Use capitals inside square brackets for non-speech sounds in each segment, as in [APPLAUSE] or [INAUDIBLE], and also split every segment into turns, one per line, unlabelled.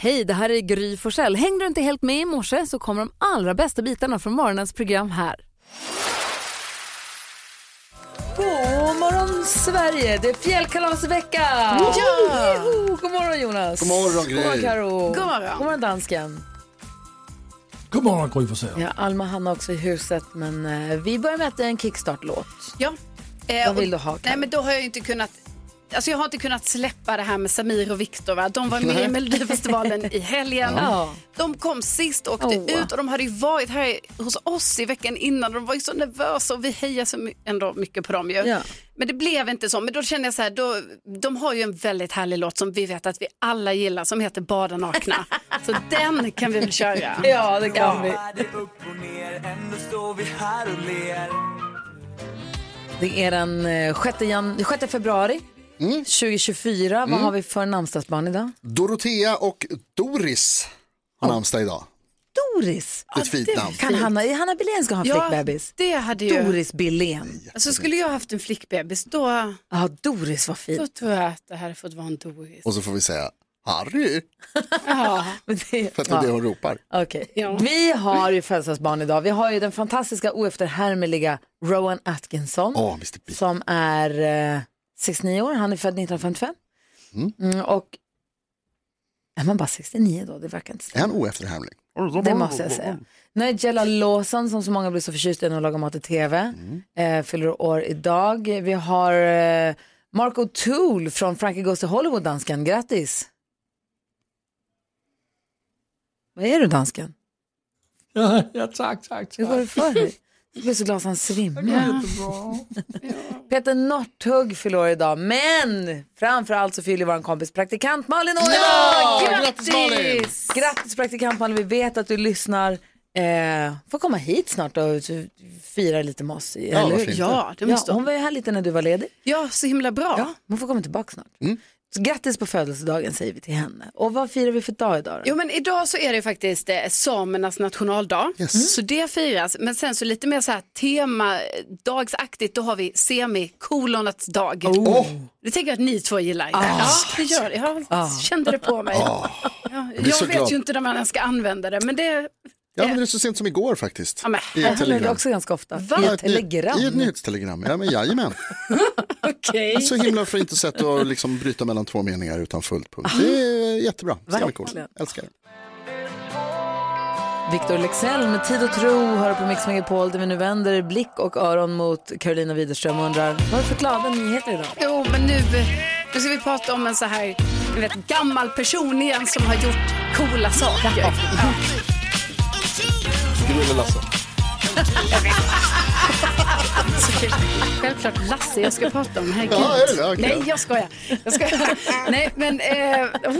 Hej, det här är Gry Forssell. Hängde du inte helt med i morse så kommer de allra bästa bitarna från morgonens program här. God morgon Sverige, det är fjällkalasvecka! Ja! God morgon Jonas!
God morgon, Gry.
God morgon Karo. God
morgon.
God morgon dansken!
God morgon Gry Forssell.
Ja, Alma och Hanna också i huset men eh, vi börjar med att det är en kickstart-låt.
Ja. Eh,
Vad vill
och-
du ha, Karo?
Nej men då har jag ju inte kunnat Alltså jag har inte kunnat släppa det här med Samir och Viktor. Va? De var med
Nej.
i Melodifestivalen i helgen.
Ja.
De kom sist och åkte
Åh.
ut och de hade ju varit här hos oss i veckan innan. De var ju så nervösa och vi hejar så my- ändå mycket på dem ju.
Ja.
Men det blev inte så. Men då kände jag så här, då, de har ju en väldigt härlig låt som vi vet att vi alla gillar som heter Bada
[LAUGHS]
nakna. så den kan vi väl köra.
Ja, det kan vi. Det är den eh, 6, jan- 6 februari
Mm.
2024. Vad har vi för namnsdagsbarn idag?
Dorotea och Doris har namnsdag idag.
Doris!
Det är ett fint namn.
Kan Hanna, är Hanna Billén ska ha en flickbebis?
det hade ju...
Doris Billén.
Alltså skulle jag haft en flickbebis då...
Ja, Doris var fin.
Då tror jag att det här har fått vara en Doris.
Och så får vi säga Harry,
Ja.
Men det-
för att det är det
ja.
hon ropar.
[LAUGHS] Okej.
Ja.
Vi har ju födelsedagsbarn idag. Vi har ju den fantastiska oefterhärmliga Rowan Atkinson.
Åh, Mr. Bean.
som är eh, 69 år. Han är född 1955. Mm, och är man bara 69 då? Det verkar inte
Är
stämma.
han oefterhärmlig?
Det måste jag säga. Nigella Lawson, som så många blir så förtjusta i när hon lagar mat i tv, eh, fyller år idag. Vi har eh, Mark O'Toole från Frankie Goes to Hollywood, dansken. Grattis! Vad är du, dansken?
Ja, ja, tack, tack,
Hur
tack.
går det för dig? Jag blir så glad att han svimmar. Peter Northug fyller år idag, men framförallt så fyller vår kompis praktikant Malin år idag!
grattis, Malin!
Grattis praktikant Malin, vi vet att du lyssnar. Eh, får komma hit snart och fira lite med oss. Ja,
varför inte?
Ja, det
ja,
måste
hon
hon.
var ju här lite när du var ledig.
Ja, så himla bra.
Ja, hon får komma tillbaka snart. Så grattis på födelsedagen säger vi till henne. Och vad firar vi för dag idag då?
Jo men idag så är det faktiskt eh, samernas nationaldag.
Yes.
Mm. Så det firas. Men sen så lite mer så här temadagsaktigt då har vi semikolonets dag. Oh.
Åh,
Det tänker jag att ni två gillar.
Ah,
ja, det gör det. Jag kände det på mig. Ja,
Ah. blir
jag
så
vet
glad.
ju inte när man ska använda det men det,
jag använde det så sent som igår faktiskt.
Ja, men
I
Jag hörde
ett
det
telegram.
också ganska ofta.
Va?
I
Ja,
ett telegram.
I ett nyhetstelegram, ja men jajamän.
okej.
Ett så himla fint sätt att liksom bryta mellan två meningar utan fullt punkt. Det är jättebra. Semikolon.
Verkligen.
Älskar det.
Victor Lexell med Tid och tro hör på Mix Megapol där vi nu vänder blick och öron mot Carolina Widerström och undrar vad är det för glada nyheter idag?
Jo, men nu, nu ska vi prata om en så här du vet, gammal person igen som har gjort coola saker. Ja.
Du eller Lasse?
Så kul. Självklart Lasse jag ska prata om. Herregud.
Ja, är det det? Okej.
Nej, jag skojar. Jag skojar. Nej, men... Eh, oh,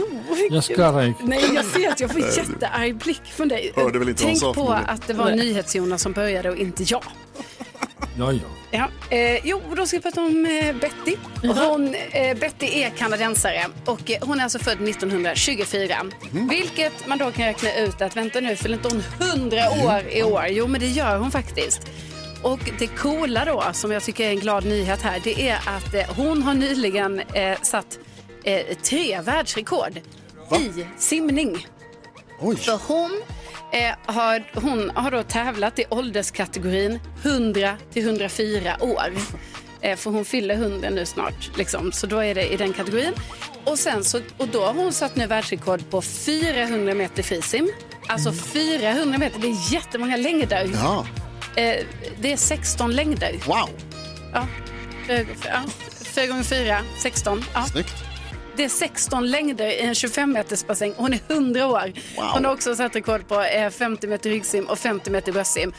Jag skrattar inte.
Nej, jag ser att jag får jättearg blick från dig.
Hörde väl inte vad
Tänk
han
på
sa förmodligen.
att det var NyhetsJonas som började och inte jag.
Ja, ja.
Ja, eh, jo, då ska vi prata om eh, Betty. Hon, eh, Betty är kanadensare och eh, hon är alltså född 1924. Vilket man då kan räkna ut att vänta nu, fyller inte hon 100 år i år? Jo, men det gör hon faktiskt. Och det coola då, som jag tycker är en glad nyhet här, det är att eh, hon har nyligen eh, satt eh, tre världsrekord i simning.
Oj,
För hon, eh, har, hon har då tävlat i ålderskategorin 100 till 104 år. Eh, för hon fyller 100 nu snart, liksom. så då är det i den kategorin. Och, sen så, och då har hon satt nu världsrekord på 400 meter frisim. Alltså 400 meter, det är jättemånga längder.
ja,
Eh, det är 16 längder.
wow,
Ja. Eh, ja. 4 gånger 4, 16. Ja.
snyggt.
Det är 16 längder i en 25 meters bassäng. Hon är 100 år.
Wow.
Hon har också satt rekord på eh, 50 meter ryggsim och 50 meter bröstsim.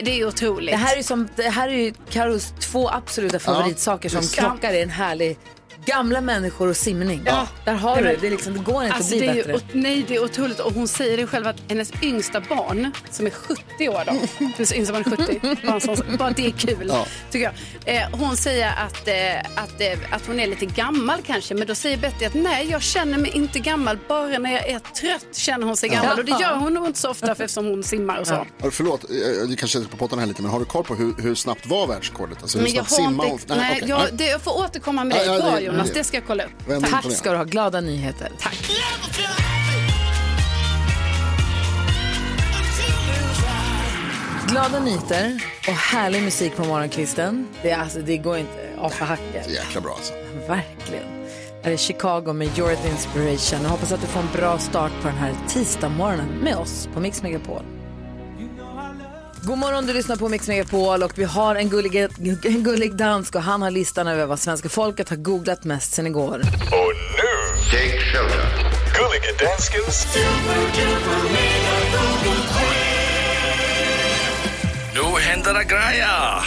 Det är ju otroligt.
Det här är ju, som, det här är ju Karos två absoluta favoritsaker som
visst.
krockar i en härlig gamla människor och simning.
Ja.
Där har
Nej,
du det.
men-
Det, är liksom, det går inte
Alltså,
att
det
bli
är
bättre.
Ju, ot- nej, det är otroligt. Och hon säger det själv att hennes yngsta barn, som är 70 år då,
[LAUGHS]
hennes yngsta barn är 70, barn som- bara det är kul,
Ja.
tycker jag. Eh, hon säger att, eh, att, eh, att hon är lite gammal kanske, men då säger Betty att nej, jag känner mig inte gammal, bara när jag är trött känner hon sig gammal. Och det gör hon nog inte så ofta för eftersom hon simmar och så.
Har du- Förlåt, eh, jag kanske sätter på pottan här lite, men har du koll på hur, hur snabbt var världsrekordet? Alltså, hur
Men jag
snabbt
har
simmar hon?
inte... Nej,
okej.
jag, det, jag får återkomma med dig
Ja, ja,
idag
det-
Jonas,
det-
det ska jag kolla upp.
Vad är det
Tack
med det?
ska du ha, glada nyheter.
Tack.
glada nyheter och härlig musik på morgonkvisten. Det, är alltså, det går inte av för hacket.
Jäkla bra alltså.
Verkligen. Här är Chicago med You're the Inspiration. Jag hoppas att du får en bra start på den här tisdagsmorgonen med oss på Mix Megapol. God morgon, du lyssnar på Mix Megapol och vi har en gullig, en gullig dansk och han har listan över vad svenska folket har googlat mest sen igår.
Och nu... Take shelter. Gullige danskens...
Nu händer det grejer!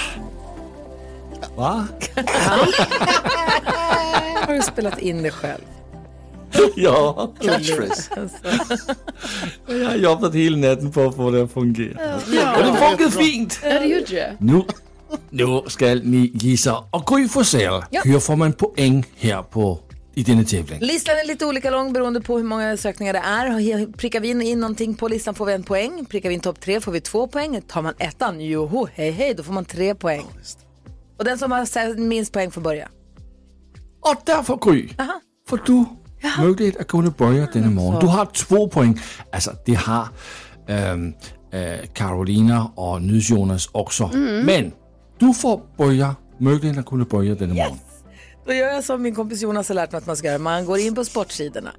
Va?
Har du spelat in det själv?
Ja,
Catchphrase.
jag har jobbat hela natten på att få det att fungera. Och det funkade fint!
Ja, det gjorde du.
Nu, nu ska ni gissa. Och Gry Forssell, hur får man poäng här på, i denna tävling?
Listan är lite olika lång beroende på hur många sökningar det är. Prickar vi in, in någonting på listan får vi en poäng. Prickar vi in topp tre får vi två poäng. Tar man ettan, joho, hej hej, då får man tre poäng. Och den som har sä- minst poäng får börja.
Och därför Gry, får du möjlighet att kunna börja denna morgon. Du har två poäng. Alltså det har ehm, eh, Carolina och Jonas också. Men du får börja, möjligheten att kunna börja denna morgon.
Då gör jag som min kompis Jonas har lärt mig att man ska göra. Man går in på sportsidorna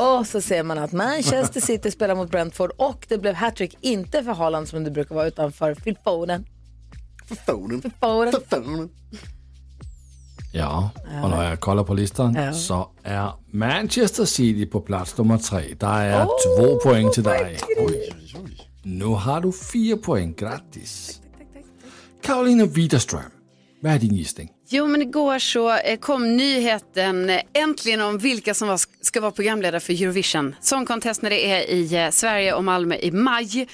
och så ser man att Manchester City spelar mot Brentford och det blev hattrick, inte för Haaland som det brukar vara, utan för Phil Foden.
Foden.
Foden.
Foden.
Ja, och när jag kollar på listan så är Manchester City på plats nummer tre. Där är
Oh
två poäng till dig. Oj. Nu har du fyra poäng, grattis. Karolina Widerström, vad är din gissning?
Jo, men igår så eh, kom nyheten eh, äntligen om vilka som var, ska vara programledare för Eurovision Song Contest när det är i eh, Sverige och Malmö i maj.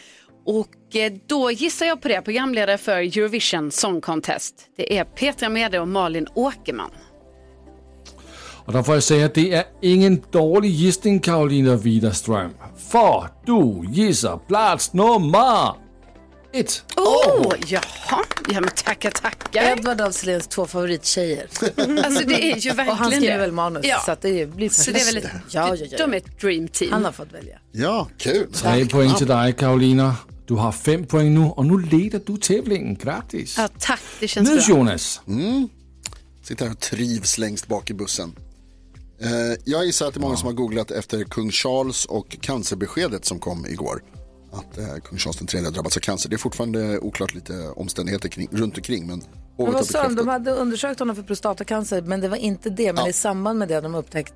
Och eh, då gissar jag på det, programledare för Eurovision Song Contest. Det är Petra Mede och Malin Åkerman.
Och där får jag säga att det är ingen dålig gissning Karolina Widerström. För du gissar plats nummer ett.
Åh, oh, jaha. Ja, men tacka, tacka.
Edward af Sillens två
[LAUGHS]
favorittjejer.
Alltså det är ju verkligen
Och han skriver
det.
väl manus
Ja.
så att det blir perfekt.
Så det är väl ett,
ja, ja, ja.
De är ett dream team.
Han har fått välja.
Ja, kul.
Tre poäng till dig Karolina. Du har fem poäng nu och nu leder du tävlingen. Grattis!
Ja, tack, det
Nu
känns bra.
Jonas,
Sitter här och trivs längst bak i bussen. Eh, jag gissar att det är många som har googlat efter kung Charles och cancerbeskedet som kom igår. Att eh, kung Charles den tredje har drabbats av cancer. Det är fortfarande oklart lite omständigheter kring, runt omkring. Men
Men
hovet har
vad sa de? De
bekräftat.
hade undersökt honom för prostatacancer men det var inte det. Men
Ja.
i samband med det hade de upptäckt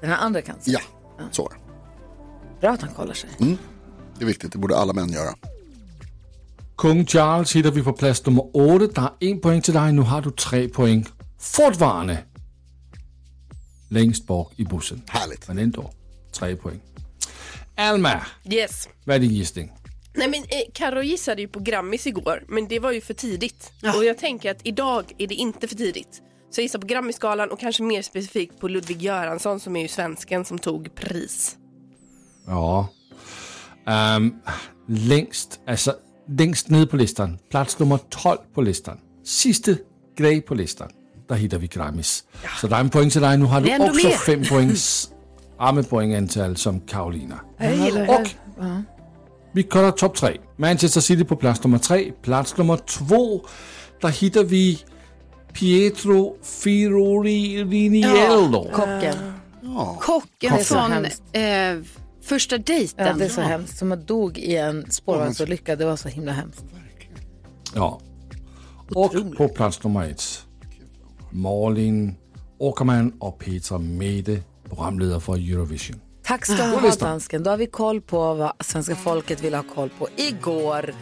den här andra cancern.
Ja, så var det.
Bra att han kollar sig.
Mm.
Det är viktigt, det borde alla män göra.
kung Charles hittar vi på plats nummer åtta. Der er en poäng till dig, nu har du tre poäng. Fortfarande längst bak i bussen.
Härligt.
Men ändå, tre poäng. Alma,
Yes.
vad är din gissning?
Nej men eh, Karo gissade ju på Grammis igår, men det var ju för tidigt. Och jag tänker att idag är det inte för tidigt. Så jag gissar på Grammisgalan och kanske mer specifikt på Ludvig Göransson som är ju svensken som tog pris.
Ja. Ehm, längst, alltså, längst ned på listan, plats nummer 12 på listan. Sista grej på listan, där hittar vi Grammis. Så där är en poäng till dig, nu har
Det är ändå
du också
mer.
fem poängs arme poängantal som Karolina. Och vi kollar topp tre. Manchester City på plats nummer tre. Plats nummer två, där hittar vi Pietro Fioriniello.
Kocken.
Kocken
så
från
hemskt.
eh, första
Ja,
dejten.
det är så hemskt. Som man dog i en spårvagnsolycka. Det var så himla hemskt.
Ja. Och på plats nummer ett, Malin Åkerman och Petra Mede, programledare för Eurovision.
Tack ska du ha, dansken. Då har vi koll på vad svenska folket ville ha koll på igår.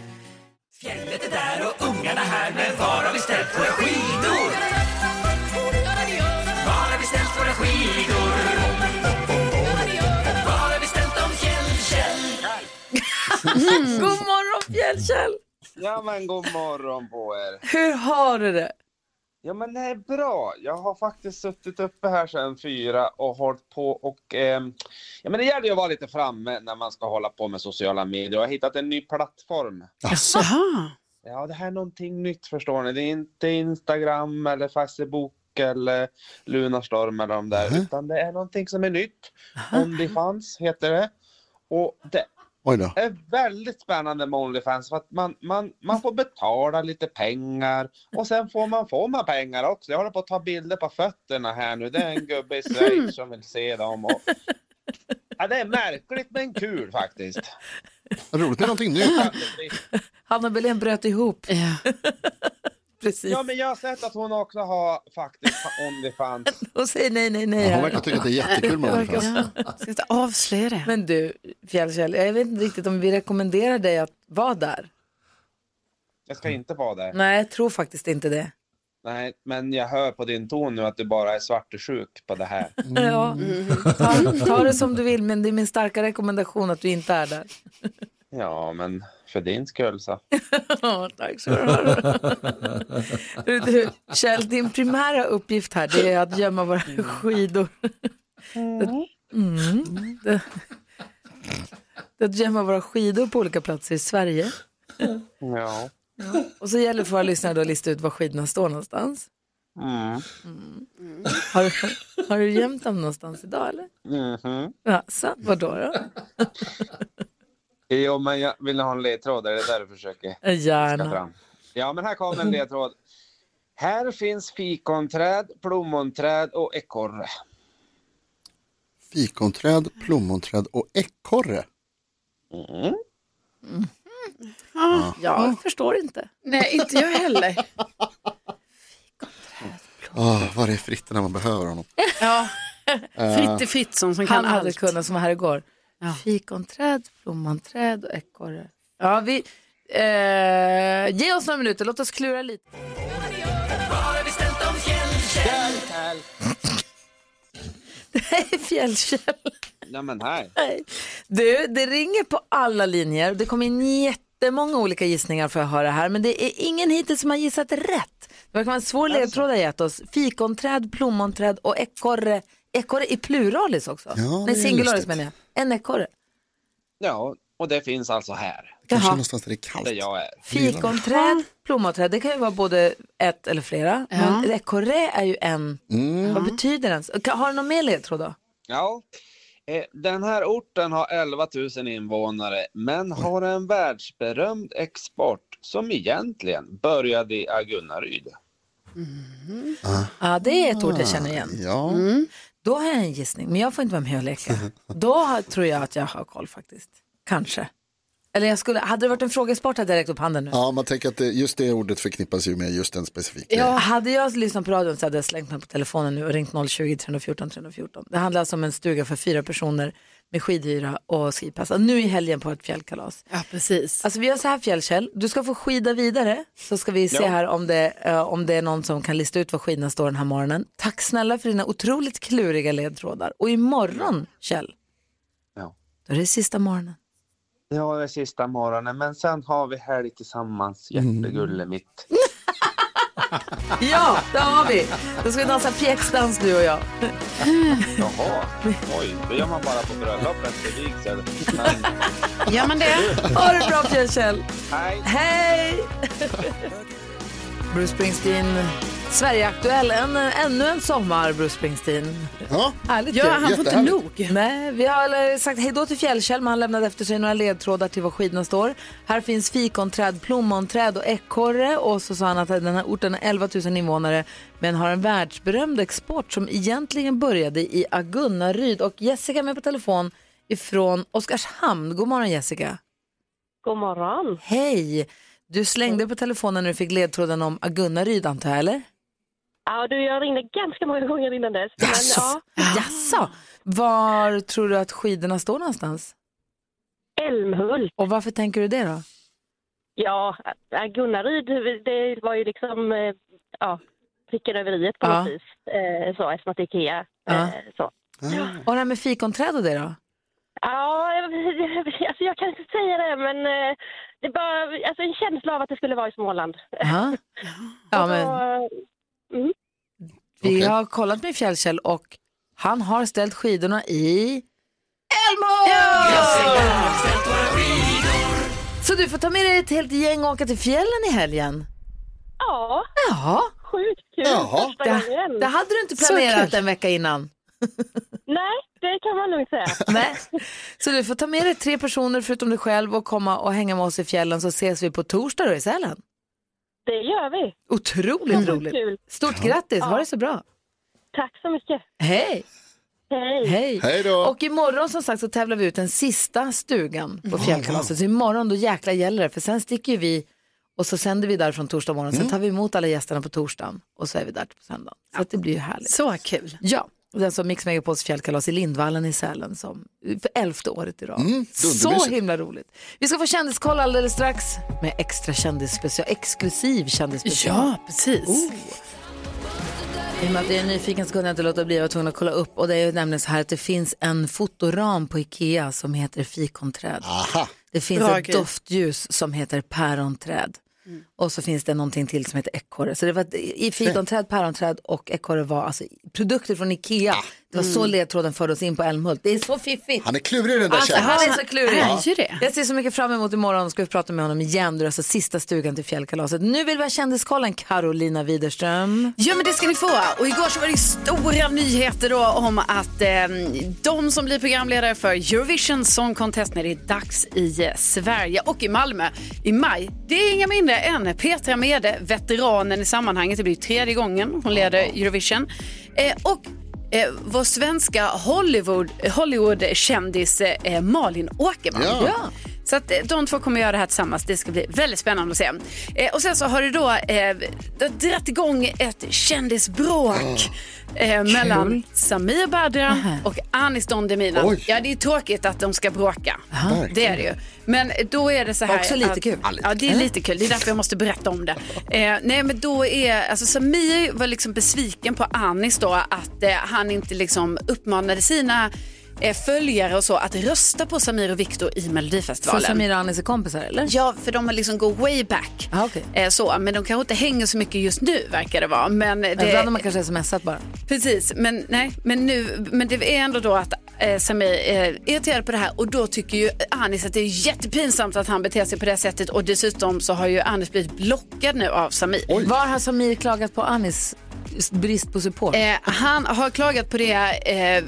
God morgon, Fjällkäll!
Ja men god morgon på er.
Hur har du det?
Ja men det är bra. Jag har faktiskt suttit uppe här sedan fyra och hållit på och ehm, ja men det gäller ju att vara lite framme när man ska hålla på med sociala medier. Jag har hittat en ny plattform.
Alltså,
Jaha.
Ja det här är någonting nytt förstår ni. Det är inte Instagram eller Facebook eller Lunarstorm eller de där utan det är någonting som är nytt. Onlyfans heter det. Och det
Oj då.
är väldigt spännande med Onlyfans för att man, man, man får betala lite pengar och sen får man, får man pengar också. Jag håller på att ta bilder på fötterna här nu. Det är en gubbe i Schweiz som vill se dem. Och... Ja, det är märkligt men kul faktiskt.
Vad Roligt med någonting nytt.
Hanna Belén bröt ihop. [LAUGHS] Precis.
Ja, men jag har sett att hon också har faktiskt Onlyfans.
Hon säger nej, nej, nej.
Hon
här.
verkar tycka att det är jättekul med Onlyfans.
Ska inte avslöja det.
Men du, Fjällkäll, jag vet inte riktigt om vi rekommenderar dig att vara där.
Jag ska inte vara där.
Nej, jag tror faktiskt inte det.
Nej, men jag hör på din ton nu att du bara är svartsjuk på det här.
Ja. Ta, ta det som du vill, men det är min starka rekommendation att du inte är där.
Ja, men för din skull så.
Ja, tack så du du, Kjell, din primära uppgift här det är att gömma våra skidor. Mm. Det, det är att gömma våra skidor på olika platser i Sverige.
Ja.
Och så gäller det för våra lyssnare då att lista ut var skidorna står någonstans. Mm.
Mm.
Har, du- har du gömt dem någonstans idag eller?
Mhm.
Ja, så, vadå då?
Jo, men jag vill ni ha en ledtråd? Är det där du försöker ska
Gärna.
fram? Ja, men här kommer en ledtråd. Här finns fikonträd, plommonträd och ekorre.
Fikonträd, plommonträd och ekorre.
Mm.
Ja, jag förstår inte.
Nej, inte jag heller.
Oh, var är Fritte när man behöver honom?
Ja. Fritte Fritzson som
Han
kan
hade
allt.
kunnat som var här igår.
Ja.
Fikonträd, plommonträd och ekorre. Ja, vi, eh, ge oss några minuter, låt oss klura lite. [LAUGHS] Hej Fjällkäll!
Ja, men här.
Du, det ringer på alla linjer. Det kommer in jättemånga olika gissningar för att höra här, men det är ingen hittills som har gissat rätt. Det verkar vara en svår ledtråd att gett oss. Fikonträd, plommonträd och ekorre. Ekorre i pluralis också.
det
Nej,
är
singularis
lustigt.
menar jag. En ekorre.
Ja, och det finns alltså här,
Kanske
Jaha.
någonstans där det är kallt.
där jag är.
Fikonträd, plommonträd, det kan ju vara både ett eller flera. Men ekorre är ju en. Vad betyder den? Kan- Har du någon mer ledtråd då?
Ja. Eh, Den här orten har 11 000 invånare, men har en världsberömd export som egentligen började i Agunnaryd.
Ja, det är ett ord jag känner igen.
Ja,
Ah. Då har jag en gissning, men jag får inte vara med och [LAUGHS] leka. Då har- tror jag att jag har koll faktiskt. Kanske. Eller jag skulle, hade det varit en frågesport hade jag räckt upp handen nu.
ja, man tänker att det, just det ordet förknippas ju med just den specifika.
Hade jag lyssnat på radion så hade jag slängt mig på telefonen nu och ringt 020 314 314. Det handlar alltså om en stuga för fyra personer med skidhyra och skipass. Nu i helgen på ett fjällkalas.
Ja, precis.
Alltså vi gör så här Fjällkäll, du ska få skida vidare så ska vi se
Ja.
här om det, eh, om det är någon som kan lista ut var skidorna står den här morgonen. Tack snälla för dina otroligt kluriga ledtrådar. Och imorgon Kjell,
Ja.
då är det sista morgonen.
Ja, det är sista morgonen, men sen har vi helg tillsammans, hjärtegulle mitt.
Ja, det har vi! Då ska vi dansa pjäxdans du och jag.
Jaha, oj, det gör man bara på bröllop efter vigsel. Men,
Gör man det?
Ha det bra Fjällkäll!
Nej,
Hej! Bruce Springsteen, Sverige-aktuell. En, ännu en sommar Bruce Springsteen.
Ja.
Härligt
Ja,
ju.
han får inte
Jättehärligt.
nog.
Nej, vi har alla sagt hej då till Fjällkäll, men han lämnade efter sig några ledtrådar till var skidorna står. Här finns fikonträd, plommonträd och ekorre. Och så sa han att den här orten har 11 000 invånare, men har en världsberömd export som egentligen började i Agunnaryd. Och Jessica är med på telefon ifrån Oskarshamn. God morgon Jessica.
God morgon.
Hej! Du slängde på telefonen när du fick ledtråden om Agunnaryd antar jag, eller?
Ja, du, jag ringde ganska många gånger innan dess. Men,
Alltså.
ja,
Jaså? Var tror du att skidorna står någonstans?
Älmhult.
Och varför tänker du det då?
Ja, äh, Gunnaryd, det var ju liksom eh, ja, pricken över i på
Ja.
något vis. Eh, Så, eftersom att det är Ikea.
Ja.
eh, Så.
Och det här med fikonträd och det då?
Ja, jag- alltså jag kan inte säga det, men eh, det var alltså en känsla av att det skulle vara i Småland.
Ja. Ja, men
Så,
vi
Okej.
har kollat med Fjällkäll och han har ställt skidorna i Älmhult! Så du får ta med dig ett helt gäng och åka till fjällen i helgen.
ja,
Ja,
sjukt kul
Jaha.
första
det,
gången.
det hade du inte
Så
planerat
kul.
en vecka innan.
Nej, det kan man lugnt säga.
Nej. Så du får ta med dig tre personer förutom dig själv och komma och hänga med oss i fjällen så ses vi på torsdag då i Sälen.
Det gör vi.
Otroligt
Mm,
roligt.
kul.
Stort grattis,
Ja.
ha det så bra.
Tack så mycket.
Hej!
Hej.
Hej.
Hej då.
Och imorgon som sagt så tävlar vi ut den sista stugan
Mm.
på fjällkalaset. Så imorgon då jäkla gäller det för sen sticker ju vi och så sänder vi därifrån torsdag morgon.
Mm.
Sen tar vi emot alla gästerna på torsdagen och så är vi där på söndagen. Så att det blir ju härligt.
Så kul.
Ja, och det är alltså Mix Megapols fjällkalas i Lindvallen i Sälen som för elfte året i rad. så
Mm, dundermysigt.
himla roligt. Vi ska få kändiskoll alldeles strax med extra kändisspecial, exklusiv kändisspecial.
Ja, precis.
Oh. I och med att jag är nyfiken så kunde jag inte låta bli, jag var tvungen att kolla upp. Och det är ju nämligen så här att det finns en fotoram på Ikea som heter fikonträd.
Aha.
Det finns
Bra
ett
grej.
doftljus som heter päronträd. Och så finns det någonting till som heter ekorre. Så det var i fikonträd, päronträd och ekorre var alltså produkter från Ikea. Det var så ledtråden förde oss in på Älmhult. Det är så fiffigt.
Han är klurig den där
Alltså,
tjejen.
han är så klurig.
Han är ju det.
Jag ser så mycket fram emot imorgon. Ska vi prata med honom igen. Det är alltså sista stugan till fjällkalaset. Nu vill vi ha kändiskollen Carolina Widerström.
Ja men det ska ni få. Och igår så var det stora nyheter då om att eh, de som blir programledare för Eurovision Song Contest när det är dags i eh, Sverige och i Malmö i maj. Det är inga mindre än Petra Mede, veteranen i sammanhanget. Det blir tredje gången hon leder Eurovision. Eh, och eh, vår svenska Hollywood, Hollywood-kändis eh, Malin Åkerman.
Ja. Ja.
Så att eh, de två kommer göra det här tillsammans. Det ska bli väldigt spännande att se. Eh, och sen så har det då eh, det har dragit igång ett kändisbråk
Ah.
eh, mellan Samir Badran och Anis Don Demina.
Oj.
Ja, det är tråkigt att de ska bråka. Det är det ju. Men då är det så här.
Också lite
att,
kul. Eh.
Ja, det är lite kul. Det är därför jag måste berätta om det. Eh, nej, men då är, alltså Samir var liksom besviken på Anis då att eh, han inte liksom uppmanade sina eh, följare och så att rösta på Samir och Viktor i
För
Melodifestivalen.
Samira och Anis är kompisar eller?
Ja, för de har liksom går way back.
Ah, okej.
eh, så, men de kanske inte hänger så mycket just nu verkar det vara. Men det,
Ibland har man kanske smsat bara.
Precis, men, nej, men, nu, men det är ändå då att eh, Samir eh, är irriterad på det här och då tycker ju Anis att det är jättepinsamt att han beter sig på det sättet och dessutom så har ju Anis blivit blockad nu av Samir.
Var har Samir klagat på Anis brist på support?
Eh, han har klagat på det eh,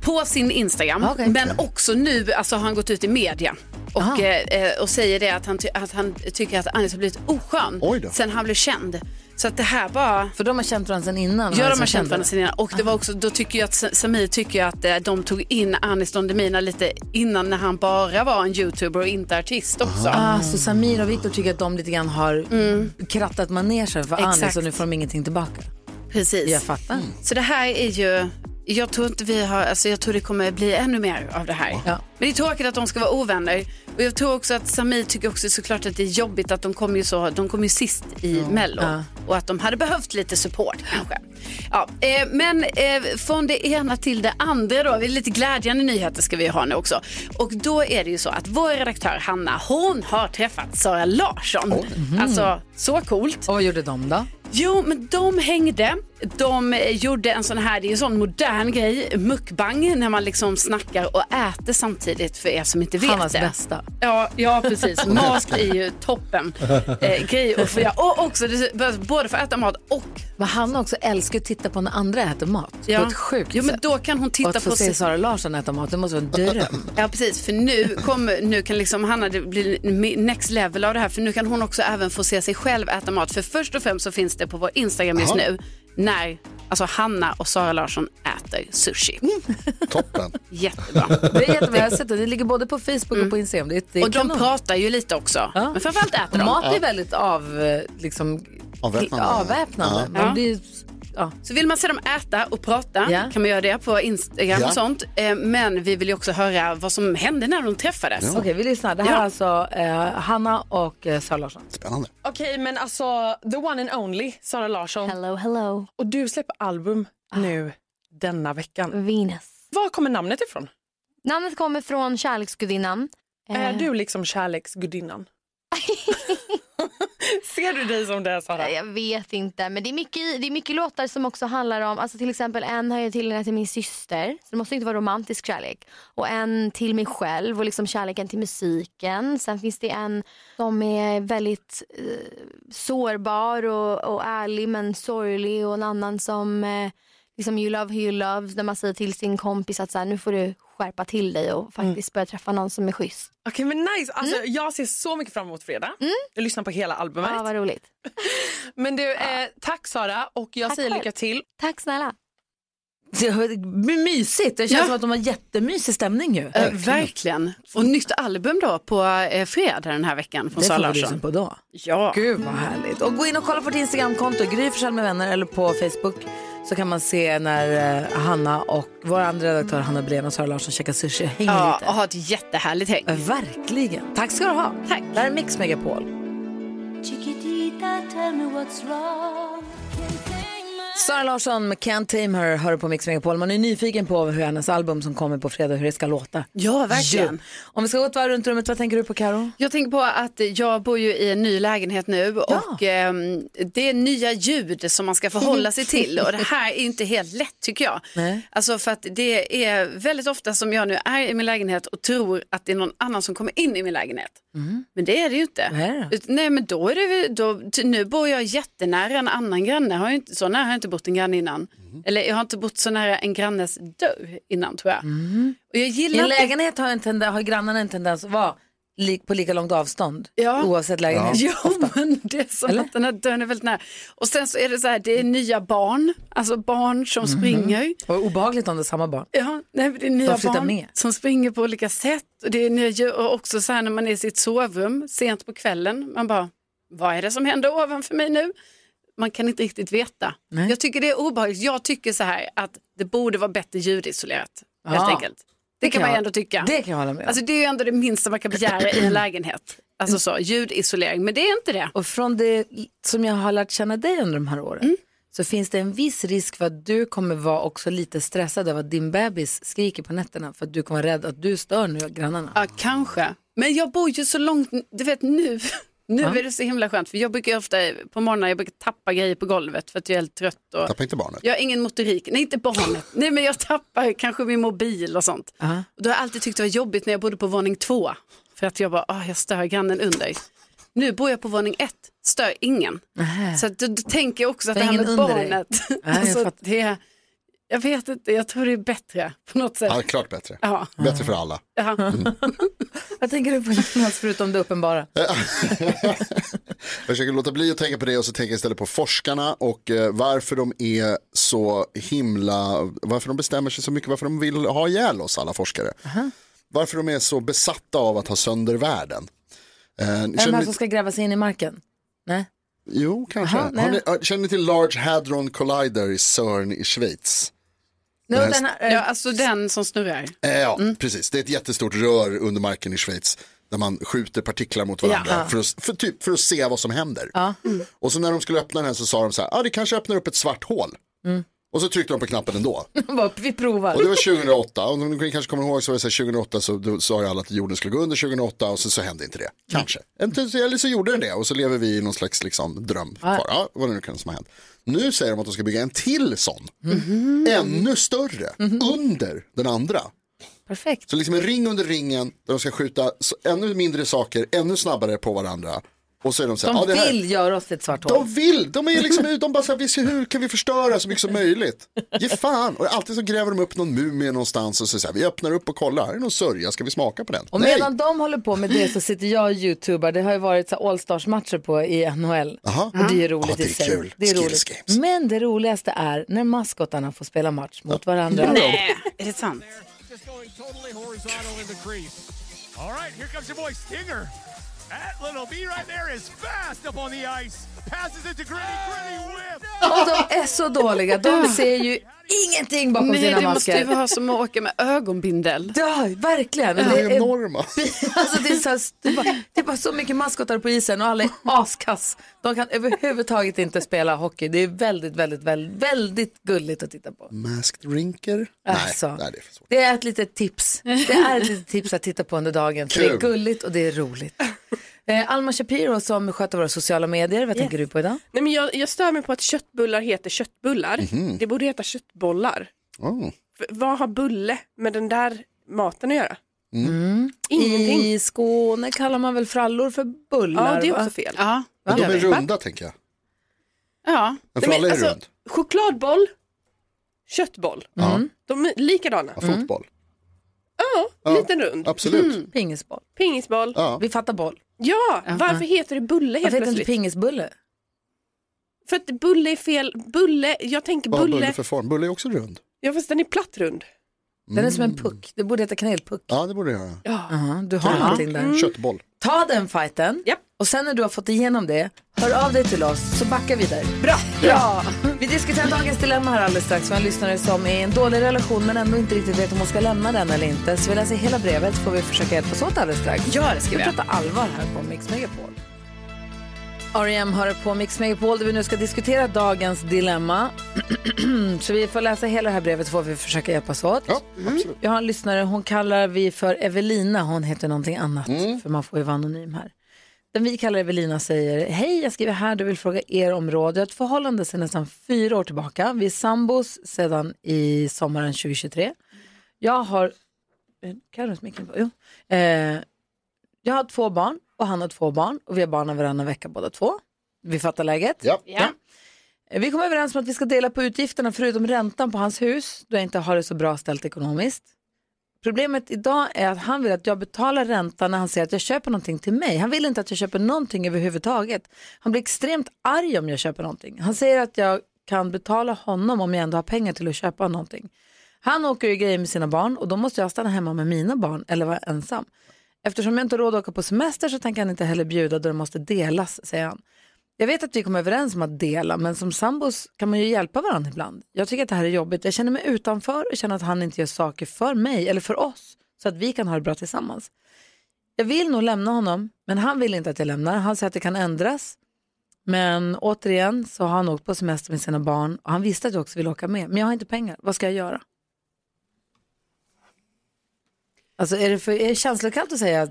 på sin Instagram,
Okej.
men också nu alltså, har han gått ut i media. Och,
Aha.
eh, eh, och säger det att han, ty- att han tycker att Anis har blivit oskön
Oj då.
sen han blev känd. Så att det här bara...
För de har liksom känt varandra sedan innan.
Ja,
Anis
de har
var
känt varandra
känd.
sedan innan. Och det var också, då tycker jag att Sa- Samir tycker jag att eh, de tog in Anis Don Demina lite innan när han bara var en youtuber och inte artist också.
Ah, så Samir och Viktor tycker att de lite grann har krattat manegen för Anis
Mm. Exakt.
och nu får de ingenting tillbaka.
Precis.
Jag fattar.
Så det här är ju, jag tror inte vi har, alltså jag tror det kommer bli ännu mer av det här.
Ja.
Men det är tråkigt att de ska vara ovänner. Och jag tror också att Samir tycker också såklart att det är jobbigt att de kom ju så, de kom ju sist i Mello.
Ja.
Och att de hade behövt lite support kanske. Ja, eh, men eh, från det ena till det andra då, vi- lite glädjande nyheter ska vi ha nu också. Och då är det ju så att vår redaktör Hanna, hon har träffat Sara Larsson.
Mhm.
Alltså, så coolt.
Och vad gjorde de då?
Jo, men de hängde. De eh, gjorde en sån här, det är ju en sån modern grej, mukbang, när man liksom snackar och äter samtidigt för er som inte vet
Hannas
det.
bästa.
Ja, ja,
[LAUGHS]
precis. Mat är ju toppen eh, grej att få göra. Och också, det- både för att äta mat och...
Men han också älskar att titta på när andra äter mat. På ett sjukt
Jo, men
sätt.
då kan hon
Och
titta
att få
på
se
sig.
Sara Larsson äta mat, det måste vara en
[LAUGHS]
dröm.
Ja, precis. För nu, kommer nu kan liksom Hanna, det blir mi- next level av det här. För nu kan hon också även få se sig själv äta mat. För först och främst så finns det på vår Instagram just nu när alltså Hanna och Sara Larsson äter sushi.
Toppen.
Jättebra.
Mm. Det är jättebra, jag har sett det. Det ligger både på Facebook och på Instagram. Det är, det är
Och de
kanon.
pratar ju lite också.
Ja.
Men framförallt äter de.
Mat är väldigt av, eh, liksom,
Avväpnande.
avväpnande.
Ja.
Man blir, ja.
Så vill man se dem äta och prata
Ja.
kan man göra det på Instagram
Ja.
och sånt. Eh, Men vi vill ju också höra vad som hände när de träffades.
Okej, vi lyssnar. Det här
Ja.
är alltså eh, Hanna och eh, Sara Larsson.
Spännande.
Okej, men alltså the one and only Sara Larsson.
Hello, hello. Ah.
Och du släpper album nu denna veckan.
Venus.
Var kommer namnet ifrån?
Namnet kommer från kärleksgudinnan.
Är
Eh,
du liksom kärleksgudinnan? Ser du dig som det Sara?
eh, Jag vet inte, men det är, mycket, i- det är mycket låtar som också handlar om, alltså till exempel en har jag tillägnat till min syster, så det måste inte vara romantisk kärlek. Och en till mig själv och liksom kärleken till musiken. Sen finns det en som är väldigt eh, sårbar och, och ärlig men sorglig och en annan som eh, liksom you love who you love, när man säger till sin kompis att så här, nu får du skärpa till dig
Mm.
och faktiskt börja träffa någon som är schysst. Mm.
Okej men nice, alltså, jag ser så mycket fram emot fredag. Jag lyssnar på hela albumet.
Ja, vad roligt.
Men du, eh, tack Sara och jag säger lycka till.
Tack snälla.
Mysigt, det känns
Ja.
som att de har jättemysig stämning ju.
Eh, verkligen. Och nytt album då på eh, fredag den här veckan från
Det
Sara
får vi
Larsson.
lyssna på då. Mm.
Ja.
Gud vad härligt. Och gå in och kolla på vårt Instagramkonto, Gry Forssell med vänner eller på Facebook så kan man se när eh, Hanna och vår andra redaktör Hanna Breen och Sara Larsson käkar sushi och hänger
Ja,
lite.
och ha ett jättehärligt häng.
Verkligen. Tack ska du ha. Tack. Det här är Mix Megapol.
Chiquitita, tell me what's wrong.
Sara Larsson med Can't Tame Her hör på Mix Megapol. Man är nyfiken på hur hennes album som kommer på fredag, hur det ska låta.
Ja, verkligen.
Ju. Om vi ska gå ett varv runt rummet, vad tänker du på Karo?
Jag tänker på att jag bor ju i en ny lägenhet nu och ehm, det är nya ljud som man ska förhålla sig till och det här är inte helt lätt tycker jag.
Nej.
Alltså för att det är väldigt ofta som jag nu är i min lägenhet och tror att det är någon annan som kommer in i min lägenhet. Men det är det ju inte.
Mm. Vad är det
Ut- Nej men då är det väl- då, ty- nu bor jag jättenära en annan granne, har jag inte, så nära har jag inte bott en granne innan.
Mm.
Eller jag har inte bott så nära en grannes dörr innan tror jag. Och jag
Mm. I
gillar
en
inte-
lägenhet har, en tende- har grannarna en tendens att vara li- på lika långt avstånd
Ja.
oavsett lägenhet. [LAUGHS]
[LAUGHS] Jo, men det är som att den här dörren är väldigt nära. Och sen så är det så här, det är nya barn, alltså barn som springer.
Vad obehagligt om det är samma barn.
Ja, nej, men det är nya
Mhm. De flyttar
barn
med.
som springer på olika sätt. Och det är nya, djur. och också så här när man är i sitt sovrum sent på kvällen, man bara, vad är det som händer ovanför mig nu? Man kan inte riktigt veta. Jag tycker det är obehagligt. Jag tycker så här att det borde vara bättre ljudisolerat, helt
Ja.
enkelt. Det, kan man ju
jag-
ändå tycka.
Det kan jag hålla med om.
Alltså det är ju ändå det minsta man kan begära i en lägenhet.
[CLEARS THROAT]
Alltså så, ljudisolering, men det är inte det.
Och från det som jag har lärt känna dig under de här åren så finns det en viss risk för att du kommer vara också lite stressad över att din bebis skriker på nätterna för att du kommer vara rädd att du stör nu grannarna.
Ja, kanske. Men jag bor ju så långt, du vet nu, [LAUGHS] nu
Ja.
är det så himla skönt för jag brukar ju ofta på morgonen, jag brukar tappa grejer på golvet för att jag är helt trött. Och...
Tappa inte barnet.
Jag har ingen motorik, nej inte barnet, nej men jag tappar kanske min mobil och sånt.
Ja.
Och då har jag alltid tyckt det var jobbigt när jag bodde på våning två, för att jag bara, ah, jag stör grannen under. Nu bor jag på våning ett, stör ingen.
Nähä.
Så att, då, då tänker jag också att
Det
det här
är ingen
med
under dig.
barnet,
jag
[LAUGHS] alltså,
fattar.
det, jag vet inte, jag tror det är bättre på något sätt.
Ja, klart bättre.
Ja.
Bättre för alla.
Ja.
Mm. Vad tänker [LAUGHS] du på Jonas förutom det uppenbara?
Jag försöker låta bli att tänka på det och så tänker jag istället på forskarna och eh, varför de är så himla, varför de bestämmer sig så mycket, varför de vill ha ihjäl oss alla forskare. Varför de är så besatta av att ha sönder världen. Eh,
Är de
känner
här
ni-
som ska gräva sig in i marken? Nej.
Jo, kanske.
Aha, nej.
Har ni, eh, känner ni till Large Hadron Collider i CERN i Schweiz?
No,
Den här-
den här,
ja, alltså den som snurrar.
Eh, Ja,
Mm.
precis. Det är ett jättestort rör under marken i Schweiz där man skjuter partiklar mot varandra
Ja.
för, att, för, typ, för att se vad som händer.
Ja.
Och så när de skulle öppna den här så sa de så här, ah, det kanske öppnar upp ett svart hål.
Mm.
Och så tryckte de på knappen ändå.
[LAUGHS] Bara, vi provar.
Och det var 2008, och om ni kanske kommer ihåg så var det så här, 2008 så då sa ju alla att jorden skulle gå under 2008 och så, så hände inte det. Kanske. Eller- Eller så gjorde den det och så lever vi i någon slags liksom, dröm.
Ja.
Ja. Ja, vad det nu kan som har hänt. Nu säger de att de ska bygga en till sån.
Mhm.
Ännu större, under den andra.
Perfekt.
Så liksom en ring under ringen där de ska skjuta så, ännu mindre saker, ännu snabbare på varandra. Och så är de så här,
De
"Ja, det här,
vill göra oss till ett svart hål.
De vill, de är liksom ut, de bara så här, "Vi ser hur kan vi förstöra så mycket
[LAUGHS]
som möjligt? Ge fan, och alltid så gräver de upp någon mumie någonstans och så, så här, vi öppnar upp och kollar, här är någon sörja, ska vi smaka på den?
Och
Nej!
medan de håller på med det så sitter jag och youtubar. Det har ju varit så här All-Stars-matcher på i NHL.
Aha.
Och det är ju roligt
Ja, det är
i sig.
kul.
Det är
Skills
roligt. Men det roligaste är när maskotarna får spela match mot varandra.
Nej, är det sant?
Just going totally horizontal in the crease. All right, here comes your boy Stinger. That little bee right there is fast up on the ice. Passes it to Gritty. Gritty whip.
Och de är så dåliga. De ser ju ingenting bakom
Nej,
sina
det måste ju
masker.
vara som att åka med ögonbindel.
Ja, verkligen. Och
De
Det
är
är,
enorma.
[LAUGHS] alltså det, är så här, det, är bara, det är bara så mycket maskotar på isen och
[LAUGHS]
alla är askass. De kan överhuvudtaget inte spela hockey. Det är väldigt, väldigt, väldigt, väldigt gulligt att titta på.
Masked rinker?
Alltså.
Nej, nej, det är för svårt.
Det är ett litet tips. Det är ett litet tips att titta på under dagen. För det är
Kul.
gulligt och det är roligt. Eh, Alma Shapiro som sköter våra sociala medier, vad tänker du på idag?
Nej, men jag, jag stör mig på att köttbullar heter köttbullar.
Mhm.
Det borde heta köttbollar.
Oh.
För, vad har bulle med den där maten att göra?
Mm.
Ingenting.
I Skåne kallar man väl frallor för bullar?
Ja, det är
va?
också fel.
Ja.
Men de
Va?
är runda tänker jag.
ja.
En
Nej, men
fralla är
alltså-
rund.
Chokladboll, köttboll.
Ja.
De är likadana.
Ja, fotboll.
Ja,
Ja,
liten
Mm.
rund.
absolut.
Pingisboll.
Pingisboll.
Vi fattar boll.
Ja, varför heter det bulle
Varför
helt
heter det inte
plötsligt?
pingisbulle?
För att bulle är fel. Bulle, jag tänker
Vad har
bulle.
bulle för form? Bulle är också rund.
Ja fast den är platt rund.
Den är som en puck. Det borde heta kanelpuck.
Ja, det borde jag
Mm.
göra.
Ja.
du har någonting där.
Köttboll.
Ta den fighten och sen när du har fått igenom det, hör av dig till oss så backar vi där. Bra! Bra! Vi diskuterar dagens dilemma här alldeles strax. Vi har en lyssnare som är i en dålig relation men ändå inte riktigt vet om hon ska lämna den eller inte. Så vi läser hela brevet så får vi försöka hjälpas åt alldeles strax.
Ja, det ska vi
Vi
göra.
pratar allvar här på Mix Megapol. E R.E.M. hör på Mix Megapol där vi nu ska diskutera dagens dilemma. [CLEARS THROAT] så vi får läsa hela det här brevet så får vi försöka hjälpas åt. Ja,
absolut.
Jag har en lyssnare, hon kallar vi för Evelina, hon heter någonting annat för man får ju vara anonym här. Den vi kallar Evelina säger, hej jag skriver här, du vill fråga er om råd. Jag har ett förhållande sedan nästan fyra år tillbaka. Vi är sambos sedan i sommaren 2023. Jag har, kan du micken på? Jo. Eh, jag har två barn och han har två barn och vi har barnen varannan vecka båda två. Vi fattar läget.
Ja.
Ja. Eh, Vi kom överens om att vi ska dela på utgifterna förutom räntan på hans hus då jag inte har det så bra ställt ekonomiskt. Problemet idag är att han vill att jag betalar räntan när han ser att jag köper någonting till mig. Han vill inte att jag köper någonting överhuvudtaget. Han blir extremt arg om jag köper någonting. Han säger att jag kan betala honom om jag ändå har pengar till att köpa någonting. Han åker ju grejer med sina barn och då måste jag stanna hemma med mina barn eller vara ensam. Eftersom jag inte har råd att åka på semester så tänker han inte heller bjuda då det måste delas, säger han. Jag vet att vi kom överens om att dela, men som sambos kan man ju hjälpa varandra ibland. Jag tycker att det här är jobbigt. Jag känner mig utanför och känner att han inte gör saker för mig eller för oss så att vi kan ha det bra tillsammans. Jag vill nog lämna honom, men han vill inte att jag lämnar. Han säger att det kan ändras. Men återigen så har han åkt på semester med sina barn och han visste att jag också vill åka med. Men jag har inte pengar. Vad ska jag göra? Alltså är det, för, är det känslokallt att säga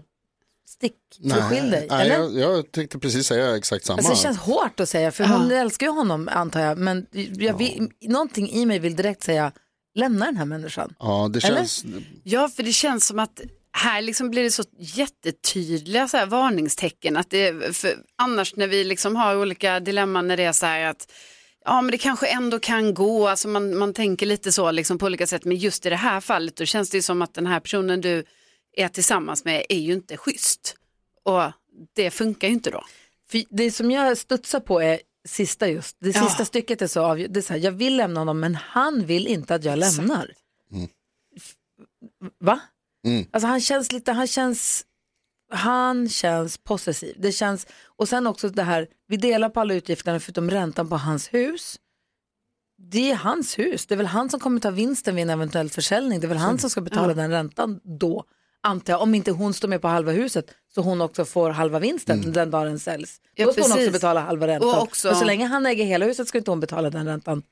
stick, förskilj dig?
nej
eller?
jag, jag tänkte precis säga exakt samma.
Alltså, det känns hårt att säga, för hon älskar ju honom antar jag. Men jag vill, någonting i mig vill direkt säga, lämna den här människan.
Ja, det
Eller?
känns...
Ja,
För det känns som att här liksom blir det så jättetydliga så här varningstecken. Att det, för annars när vi liksom har olika dilemman när det är så här att ja, men det kanske ändå kan gå. Alltså man, man tänker lite så liksom på olika sätt. Men just i det här fallet då känns det ju som att den här personen du är tillsammans med är ju inte schysst. Och det funkar ju inte då.
För det som jag studsar på är sista just, det sista stycket är så avgörande. Det är så här, jag vill lämna honom men han vill inte att jag lämnar.
Mm.
F- Va?
Mm.
Alltså han känns lite, han känns, han känns possessiv. Det känns, och sen också det här, vi delar på alla utgifterna förutom räntan på hans hus. Det är hans hus, det är väl han som kommer ta vinsten vid en eventuell försäljning. Det är väl han som ska betala
Ja.
den räntan då, antar jag. Om inte hon står med på halva huset så hon också får halva vinsten den dagen den säljs.
Mm. Ja,
Då ska hon
precis.
också betala halva räntan.
Och också-
Men så länge han äger hela huset ska inte hon betala den räntan,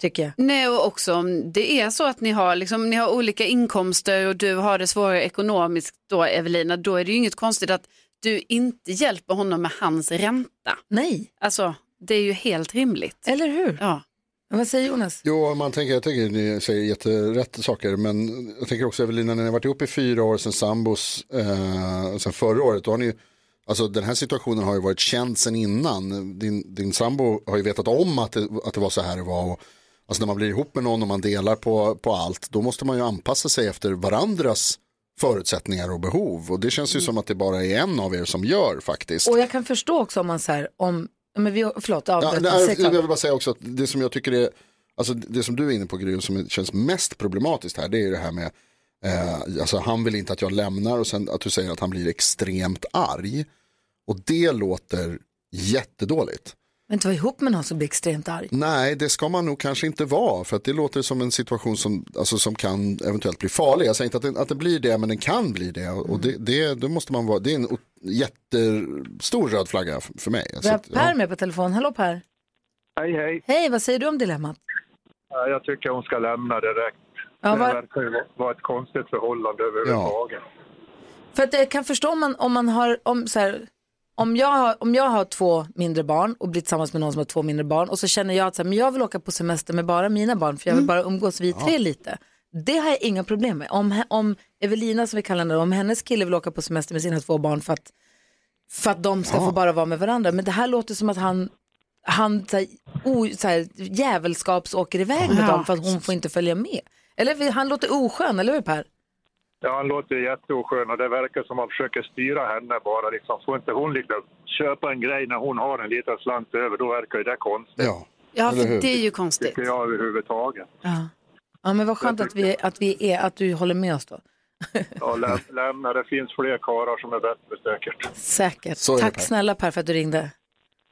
tycker jag.
Nej, och också om det är så att ni har, liksom, ni har olika inkomster och du har det svårare ekonomiskt då, Evelina, då är det ju inget konstigt att du inte hjälper honom med hans ränta.
Nej.
Alltså, det är ju helt rimligt.
Eller hur?
Ja.
Vad säger Jonas?
Jo, man tänker, jag tänker ni säger jätterätt saker, men jag tänker också Evelina, när ni har varit ihop i fyra år sedan sambos, eh, sen förra året, då har ni ju- Alltså den här situationen har ju varit känd sen innan. Din, din sambo har ju vetat om att det, att det var så här det var. Och, alltså när man blir ihop med någon och man delar på, på allt, då måste man ju anpassa sig efter varandras förutsättningar och behov. Och det känns ju som att det bara är en av er som gör faktiskt.
Och jag kan förstå också om man så här, om, ja, men vi, förlåt,
Ja,
avbryt.
nej,
Säg
jag
klart.
vill bara säga också att det som jag tycker är, alltså det som du är inne på Gry, och som känns mest problematiskt här, det är ju det här med, eh, alltså han vill inte att jag lämnar och sen att du säger att han blir extremt arg. Och det låter jättedåligt.
Men inte vara ihop med någon som blir extremt arg.
Nej, det ska man nog kanske inte vara, för att det låter som en situation som, alltså, som kan eventuellt bli farlig. Jag säger inte att den, att den blir det, men den kan bli det. Och det, det, då måste man vara, det är en o- jättestor röd flagga f- för mig.
Vi
Alltså,
har
att- ja.
Per med på telefon, hallå Per.
Hej, hej.
Hej, vad säger du om dilemmat?
Ja, Jag tycker hon ska lämna direkt.
Ja, var-
Det verkar ju vara- vara ett konstigt förhållande överhuvudtaget.
För att jag kan förstå om man, om man har, om så här, om jag, har, om jag har två mindre barn och blir tillsammans med någon som har två mindre barn och så känner jag att så här, men jag vill åka på semester med bara mina barn för jag vill bara umgås vi tre lite. Det har jag inga problem med. Om, he- om Evelina som vi kallar henne, om hennes kille vill åka på semester med sina två barn för att, för att de ska få bara vara med varandra. Men det här låter som att han han så här, o, så här, jävelskaps åker iväg med
Ja.
dem för att hon får inte följa med. Eller han låter oskön, eller hur Per?
Ja, han låter jätteoskön och det verkar som att han försöker styra henne bara. Liksom. Får inte hon liksom köpa en grej när hon har en liten slant över, då verkar ju det konstigt.
Ja,
Ja, för Eller hur? det är ju konstigt.
Tycker jag överhuvudtaget.
Ja. Ja, men vad skönt att vi, att vi är, att du håller med oss då.
Ja, läm, lämna, det finns fler karlar som är bättre säkert.
Säkert.
Så är det,
Tack
Per.
snälla Per för att du ringde.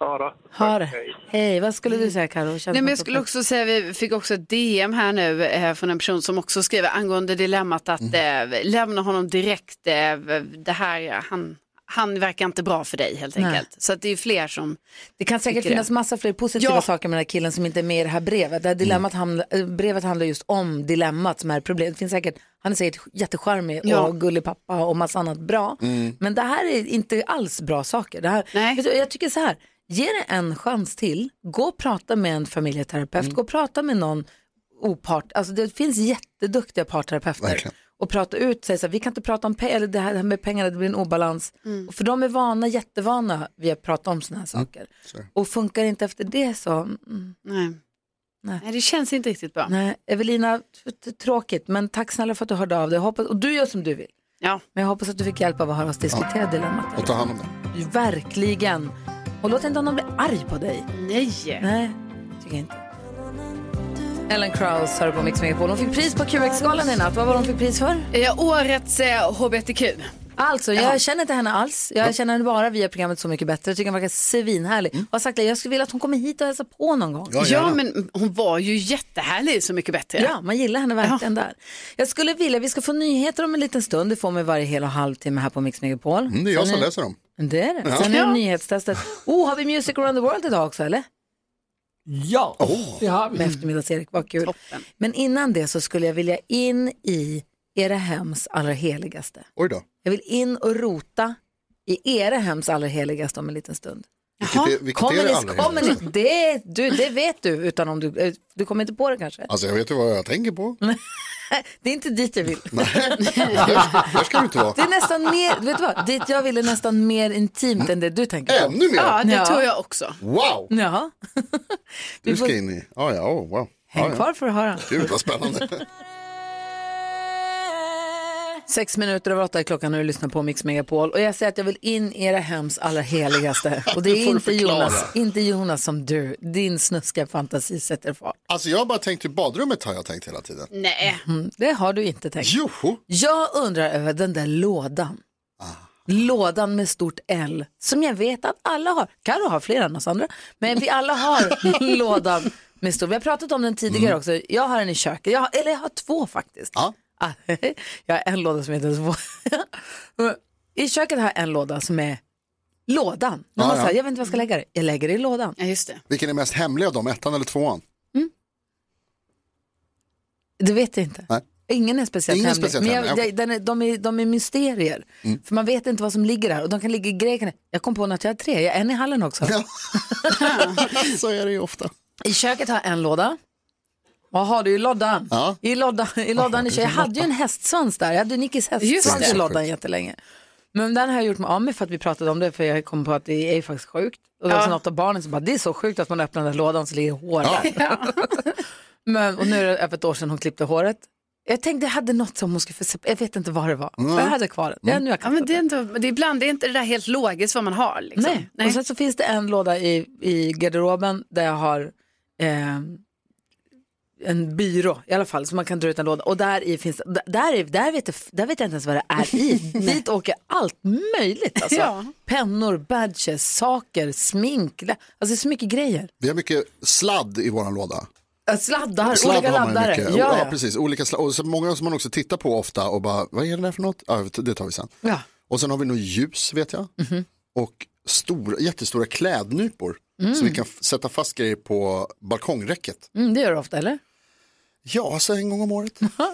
Ja, då.
Ha det. Hej, vad skulle du säga Karo? Känns
Nej, men
som
jag
att-
skulle också säga, vi fick också ett DM här nu eh, från en person som också skriver angående dilemmat att eh, lämna honom direkt. Eh, det här, han, han verkar inte bra för dig helt
Nej.
enkelt. Så att det är fler som
Det kan säkert
tycker
finnas
det.
massa fler positiva
Ja.
saker med den här killen som inte är med i det här brevet. Det här dilemmat handla, eh, brevet handlar just om dilemmat som är problemet. Det finns säkert, han är säkert jättecharmig
Ja.
och gullig pappa och massa annat bra.
Mm.
Men det här är inte alls bra saker. Det här, vet du, jag tycker så här, ge det en chans till. Gå och prata med en familjeterapeut, gå och prata med någon opart. Alltså det finns jätteduktiga parterapeuter. Och prata ut, säga så här, vi kan inte prata om pe- eller det här det här med pengarna, det blir en obalans.
Mm.
Och För de är vana, jättevana vid att prata om sådana här saker. Och funkar inte efter det så, mm,
Nej.
Nej.
Nej, det känns inte riktigt bra.
nej. Evelina, t- t- tråkigt, men tack snälla för att du hörde av dig. Jag Hoppas, och du gör som du vill.
Ja.
Men jag hoppas att du fick hjälp av att höra oss diskutera dilemmat.
och ta hand om det.
Verkligen. Och låt inte någon bli arg på dig.
Nej.
Nej, tycker jag inte. Ellen Krauss hör på Mix Megapol. Hon fick pris på QX-galan i natt. Vad var hon för pris för?
årets eh, HBTQ.
Alltså, jag känner inte henne alls. Jag känner henne bara via programmet Så mycket bättre. Jag tycker hon verkar svinhärlig.
Mm.
Jag har sagt det, jag skulle vilja att hon kommer hit och hälsar på någon gång.
Ja, men hon var ju jättehärlig i Så mycket bättre.
Ja, man gillar henne verkligen där. Jag skulle vilja, vi ska få nyheter om en liten stund. Det får man varje hel och halvtimme här på Mix Megapol.
Mm, det är jag
Sen
som läser dem.
Det är det.
Ja.
Sen är
Ja.
det nyhetstestet. Oh, har vi Music around the world idag också eller?
Ja, det har vi.
Mm.
Med eftermiddags-Erik, vad kul. Men innan det så skulle jag vilja in i era hems allra heligaste.
Oj då.
Jag vill in och rota i era hems allra heligaste om en liten stund.
Vilket är, vilket
Kommer
är det
ni,
allra
kommer
heligaste?
ni, det, du, det vet du, utan om du, eh, du kommer inte på det kanske?
Alltså jag vet ju vad jag tänker på.
Det är inte dit jag vill. [LAUGHS]
Där, där ska du inte vara.
Det är nästan mer, vet du vad, dit jag vill är nästan mer intimt än det du tänker på.
Ännu mer? Ja, det tror jag
också.
Wow! [LAUGHS]
Ja,
Du ska in i... Ja, ja, oh, wow.
häng
ja, ja.
kvar för att höra.
Gud vad spännande.
Sex minuter över åtta är klockan när du lyssnar på Mix Megapol. Och jag säger att jag vill in i era hems allra
[LAUGHS]
heligaste. Och det
Du
är
får
inte
förklara.
Jonas, inte Jonas som du. Din snuskiga fantasi sätter fart.
Alltså jag har bara tänkt hur badrummet har jag tänkt hela tiden.
Nej.
Mm, det har du inte tänkt.
Joho.
Jag undrar över den där lådan. Lådan med stort L som jag vet att alla har. Karo har fler än oss andra. Men vi alla
[LAUGHS]
har lådan med stor. Vi har pratat om den tidigare
Mm.
också. Jag har en i köket. Jag har, eller jag har två faktiskt. Ah, [LAUGHS] jag har en låda som heter så. [LAUGHS] I köket har jag en låda som är lådan. Man
Ja,
bara så här,
ja.
Jag vet inte vad jag ska lägga det. Jag lägger det i lådan.
Ja, just det.
Vilken är mest hemlig av dem, ettan eller tvåan?
Det vet jag inte.
Nej. [LAUGHS]
Ingen är speciellt
Ingen är
hemlig.
speciellt
men jag,
hemlig, okej. Mm.
jag, den är, de, är, de är mysterier. För man vet inte vad som ligger där. Och de kan ligga i grekerna. Jag kom på att jag har tre. Jag har en i hallen
[LAUGHS]
också.
Så är det ju ofta.
I köket har jag en låda. Vad har du i lådan? I lådan, i lådan i köket. Jag hade ju en hästsvans där. Jag hade Nickis
Just
hästsvans
det.
i lådan jättelänge. Men den har jag gjort mig av med för att vi pratade om det. För jag kom på att det är ju faktiskt sjukt. Och det var
Ja.
så något av barnen som bara, det är så sjukt att man öppnar den där lådan så ligger
[LAUGHS]
hår där. Men, och nu är det över ett år sedan hon klippte håret. Jag tänkte jag hade något som hon skulle få Jag vet inte vad det var.
Mm.
Jag hade kvar det. Ja, nu har jag
Ja, men det är inte, det är ibland det är inte det där helt logiskt vad man har. Liksom.
Nej. Och sen så finns det en låda i, i garderoben där jag har eh, en byrå i alla fall, så man kan dra ut en låda. Och där i finns d- där, är, där, vet jag, f- där vet jag inte ens vad det är i. [LAUGHS] Dit åker allt möjligt. Alltså.
Ja.
Pennor, badges, saker, smink. lä- Alltså det är så mycket grejer.
Vi har mycket sladd i våran låda.
Äh, Sladdar,
Sladd
olika
har man ju
laddare.
mycket. Ja, precis. Olika sladd. Och så många som man också tittar på ofta och bara, vad är det där för något? Ja, det tar vi sen.
Ja.
Och sen har vi nog ljus vet jag. Och stora, jättestora klädnypor.
Mm.
Så vi kan f- sätta fast grejer på balkongräcket.
Mm, det gör du ofta, eller?
Ja, så en gång om året.
Bra.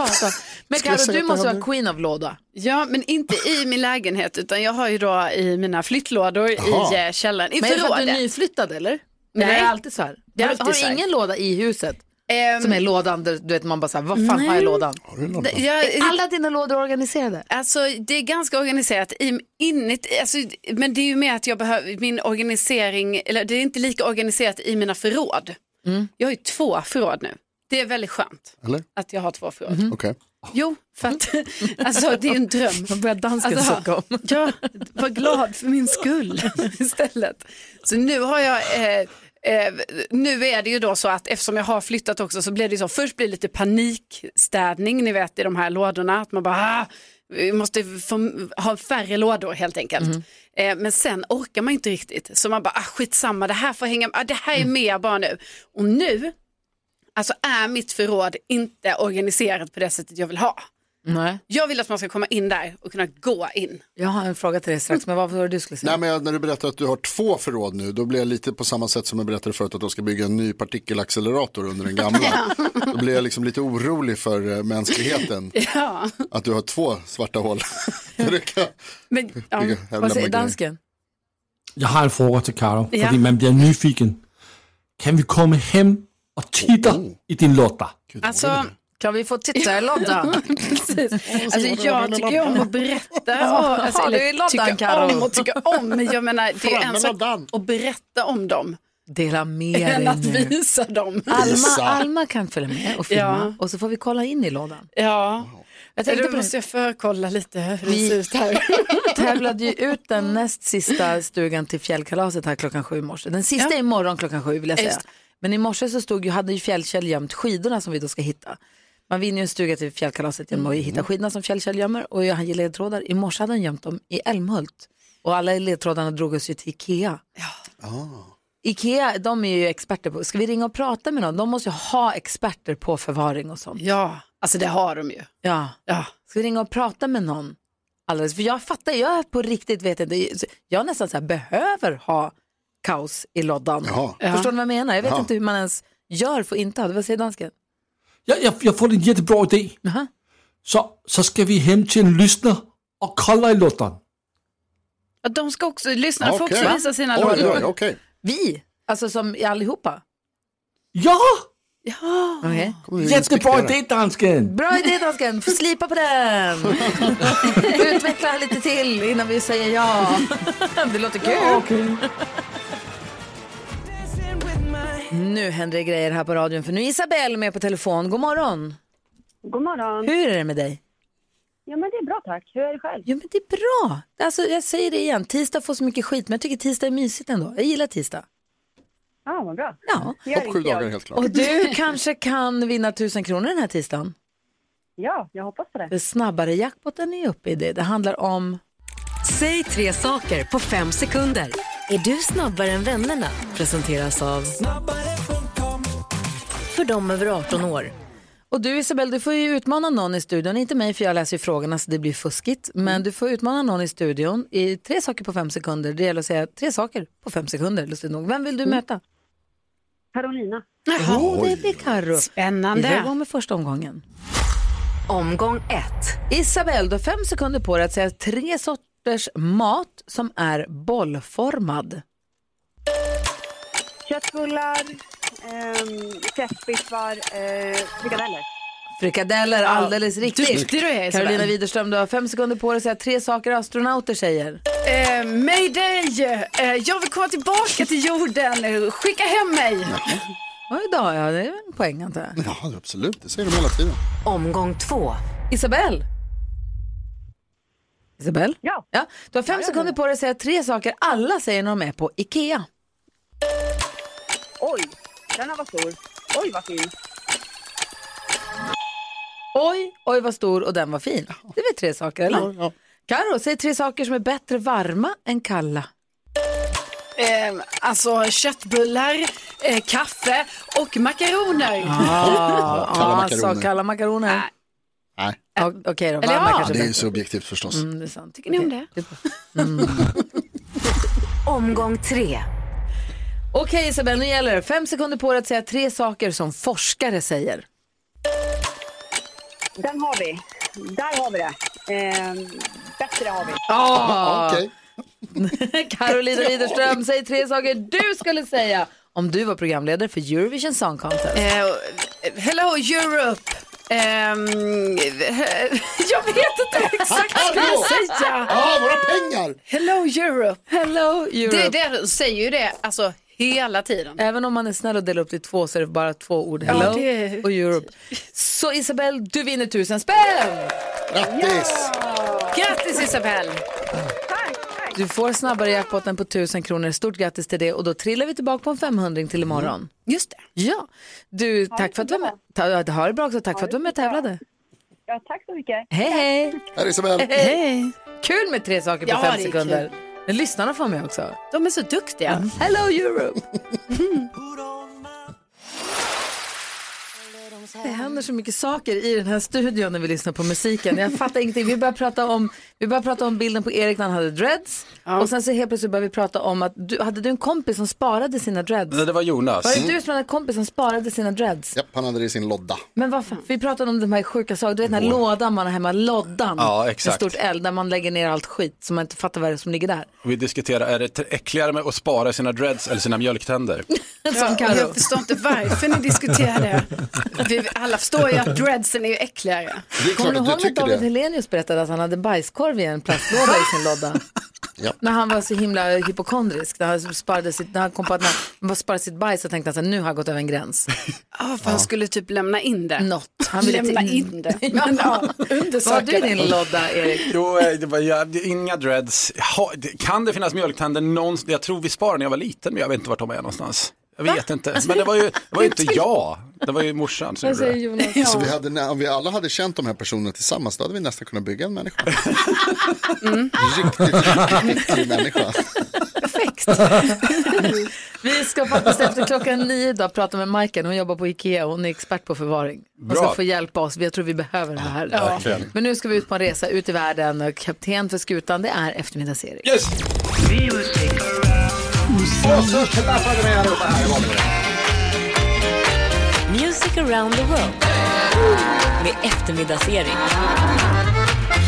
Alltså. [LAUGHS] Men
Skulle jag
Carro,
säga
du
att
måste
jag
vara queen av låda.
Ja, men inte i min lägenhet utan jag har ju då i mina flyttlådor i eh, källaren, i
Men är det för att du
förrådet.
är nyflyttad eller?
Nej.
Nej. Är det alltid så här?
Det är
har
alltid
har
så
du
här.
ingen låda i huset?
Ehm,
Som är lådan, där, du vet man bara såhär, vad fan har jag i lådan?
Har du
Det- jag-
är alla dina lådor organiserade?
Alltså det är ganska organiserat i, inuti, alltså, men det är ju mer att jag behöver min organisering, eller det är inte lika organiserat i mina förråd. Jag har ju två förråd nu. Det är väldigt skönt
Eller?
att jag har två förråd.
Okej.
Jo, för att [LAUGHS] alltså, det är ju en dröm.
Man börjar dansken sucka om.
Ja, var glad för min skull [LAUGHS] istället. Så nu har jag, eh, eh, nu är det ju då så att eftersom jag har flyttat också så blir det ju så, först blir det lite panikstädning, ni vet i de här lådorna, att man bara, ah, vi måste få, ha färre lådor helt enkelt. Eh, men sen orkar man inte riktigt, så man bara, ah, skitsamma, det här får hänga, ah, det här är med bara nu. Och nu, alltså är mitt förråd inte organiserat på det sättet jag vill ha.
Nej.
Jag vill att man ska komma in där och kunna gå in.
Jag har en fråga till dig strax, men vad var det du skulle säga?
Nej, men jag- när du berättar att du har två förråd nu, då blir jag lite på samma sätt som jag berättade förut att de ska bygga en ny partikelaccelerator under den gamla. Då blir jag liksom lite orolig för eh, mänskligheten,
Ja,
att du har två svarta hål. Du kan-
men
ja. Vilka jävla Vad säger magi.
dansken?
Jeg har en fråga til Karo,
Ja.
fordi man bliver nyfiken. Kan vi komme hem og titte i din låter?
alltså...
Kan vi få titta i loddan?
Precis. Alltså, jag tycker ju om att berätta.
Ja,
Och, alltså,
har du
eller
i loddan,
tycka
Karo?
om och tycka om. Men jag menar, det är
Fram
en
med
sak att berätta om dem.
[LAUGHS] Dela med dig
Än att
nu.
visa dem.
Alma, Alma kan följa med och filma och så får vi kolla in i lådan.
Ja.
Jag
Jag
tänkte
tänkte
på-
måste jag förkolla lite hur det
Vi-
ser ut här.
[LAUGHS] tävlade ju ut den näst sista stugan till fjällkalaset här klockan sju i morse. Den sista är imorgon klockan sju vill jag
Just
säga. Men i morse så stod ju, hade ju Fjällkäll gömt skidorna som vi då ska hitta. Man vinner ju en stuga till fjällkalaset genom att hitta skidorna som Fjällkäll gömmer och han ger ledtrådar. I morse hade han gömt dem i Älmhult och alla ledtrådarna drog oss ju till Ikea. Ah. Ikea, de är ju experter på, ska vi ringa och prata med någon? De måste ju ha experter på förvaring och sånt.
[LAUGHS] Ja, alltså det har de ju.
Ja. Ska vi ringa och prata med någon? Alldeles, för jag fattar, jag är på riktigt vet inte, jag nästan så här, behöver ha kaos i loddan.
Jaha. Ja.
Förstår ni vad jag menar? Jag vet
Jaha.
inte hur man ens gör för att inte ha det. Vad säger dansken?
Jeg, jeg, jeg får en jättebra idé. Så, så skal vi hem til en lyssner og kolde i låteren.
Ja, De ska också, lyssnarna får också
Okej.
visa sina
Oj,
lådor.
oj, okej.
Vi, alltså som i allihopa.
Ja!
Ja.
Jättebra idé, dansken!
Bra idé dansken, får slipa på den. Utveckla lite till innan vi säger ja. Det låter kul.
Ja,
Nu händer det grejer här på radion för nu är Isabelle med på telefon. God morgon.
God morgon.
Hur är det med dig?
Ja, men det är bra tack. Hur är det själv?
Jo men det är bra. Alltså, jag säger det igen, tisdag får så mycket skit men jag tycker tisdag är mysigt ändå. Jag gillar tisdag.
Ja, vad bra.
Ja.
Det gör inte jag.
Och du kanske kan vinna tusen kronor den här tisdagen.
Ja, jag hoppas på det.
För snabbare jackpotten är uppe i det. Det handlar om...
Säg tre saker på fem sekunder. Är du snabbare än vännerna? Presenteras av För dem över 18 år.
Och du Isabel, du får ju utmana någon i studion, inte mig för jag läser ju frågorna så det blir fuskigt. Men du får utmana någon i studion i tre saker på fem sekunder. Det gäller att säga tre saker på fem sekunder, lustigt nog. Vem vill du möta?
Carolina.
Jaha, det blir Carro.
Spännande.
Vi drar igång med första omgången.
Omgång ett.
Isabel, du har fem sekunder på dig att säga tre sorters mat som är bollformad.
Köttbullar, ehm, köttbiffar, eh, frikadeller.
Frikadeller, alldeles
Ja,
riktigt.
duktig du är, Isabel.
Carolina Widerström, du har fem sekunder på dig att säga tre saker astronauter säger.
Eh, mayday! Eh, jag vill komma tillbaka till jorden. Skicka hem mig!
Ja, idag ja, det är en poäng antar jag.
Ja, absolut, det säger de hela tiden.
Omgång två.
Isabel? Isabel? Ja. Du har fem sekunder på dig att säga tre saker alla säger när de är på Ikea.
Oj, denna var stor. Oj, vad fin.
Oj, oj vad stor och den var fin. Det är väl tre saker, eller? Karo, säg tre saker som är bättre varma än kalla.
Eh, alltså köttbullar, eh, kaffe och makaroner.
[LAUGHS] Ah,
kalla
ah,
makaroner.
Så kalla makaroner.
Nej.
Ah, Okej då,
Eller
varma
ja.
kanske
Det är
är
ju
bättre.
subjektivt förstås.
Mm, det är sant.
Tycker ni om det?
Omgång tre.
Okej Isabel, nu gäller det. Fem sekunder på dig att säga tre saker som forskare säger.
Den har vi. Där har vi det. Ehm, bättre har vi.
Ah. Okej. [LAUGHS] Carolina Widerström, säg tre saker du skulle säga om du var programledare för Eurovision Song Contest.
Eh, Hello Europe. Ehm, [LAUGHS] jag vet inte exakt vad jag ska säga.
Ja, våra pengar.
Hello Europe.
Hello Europe.
Det, det säger ju det alltså hela tiden.
Även om man är snäll och delar upp det i två så är det bara två ord. Hello
Ja, det-
och Europe. Så Isabelle, du vinner tusen spänn!
Grattis!
Grattis Isabelle!
Du får snabbare jackpotten på tusen kronor. Stort grattis till det och då trillar vi tillbaka på en 500 till imorgon.
Mm. Just det.
Ja. Du, tack för att du var med. Ta, ja, ha det bra också. Tack för att du var med och tävlade.
Ja, tack så mycket.
Hej, hej!
Här är Isabelle.
Hej! Kul med tre saker på
Ja, det
fem
är
sekunder. Men lyssnarna får med också. Mm.
De är så duktiga. [LAUGHS]
Hello Europe! Det händer så mycket saker i den här studion när vi lyssnar på musiken. Jag fattar ingenting. Vi började prata om, vi började prata om bilden på Erik när han hade dreads. Och sen så helt plötsligt började vi prata om att du, hade du en kompis som sparade sina dreads?
Nej, det var Jonas.
Var det du som hade en kompis som sparade sina dreads?
Japp, han hade det i sin lodda.
Men varför? Vi pratade om de här sjuka sakerna. Du vet den här lådan man har hemma, loddan.
Ja, exakt.
Med stort L där man lägger ner allt skit som man inte fattar vad det är som ligger där.
Vi diskuterar, är det äckligare med att spara sina dreads eller sina mjölktänder?
Som Karo.
jag förstår inte varför ni diskuterar det. Vi alla förstår ju att dreadsen är ju äckligare.
Kommer du ihåg när David Helenius berättade att han hade bajskorv i en plastlåda i sin låda?
Ja.
När han var så himla hypokondrisk, när han, sparade sitt, när han kom på att när han sparade sitt bajs så tänkte han så här, nu har jag gått över en gräns.
Ja, för han skulle typ lämna in det.
Något. Han ville
lämna
inte-
in det. Men, ja,
Vad har du i din lodda, Erik?
Jo, eh, det var, jag, det- inga dreads. Ha, det, kan det finnas mjölktänder någonstans? Jag tror vi sparade när jag var liten, men jag vet inte vart de är någonstans. Jag vet inte, men det var ju, det var ju inte jag, det var ju morsan som gjorde det.
Ja.
Så vi hade, om vi alla hade känt de här personerna tillsammans, då hade vi nästan kunnat bygga en människa.
Mm.
Riktigt, riktigt
[LAUGHS]
riktig människa.
Vi ska faktiskt efter klockan nio idag prata med Majken. Hon jobbar på Ikea och hon är expert på förvaring. Hon ska
Bra.
få hjälpa oss. Jag tror vi behöver det här.
Ja, verkligen.
Men nu ska vi ut på en resa ut i världen och kapten för skutan det är eftermiddags-Erik.
Yes!
Och så klappade vi allihopa här. Det var det.
Music around the world med eftermiddags-Erik.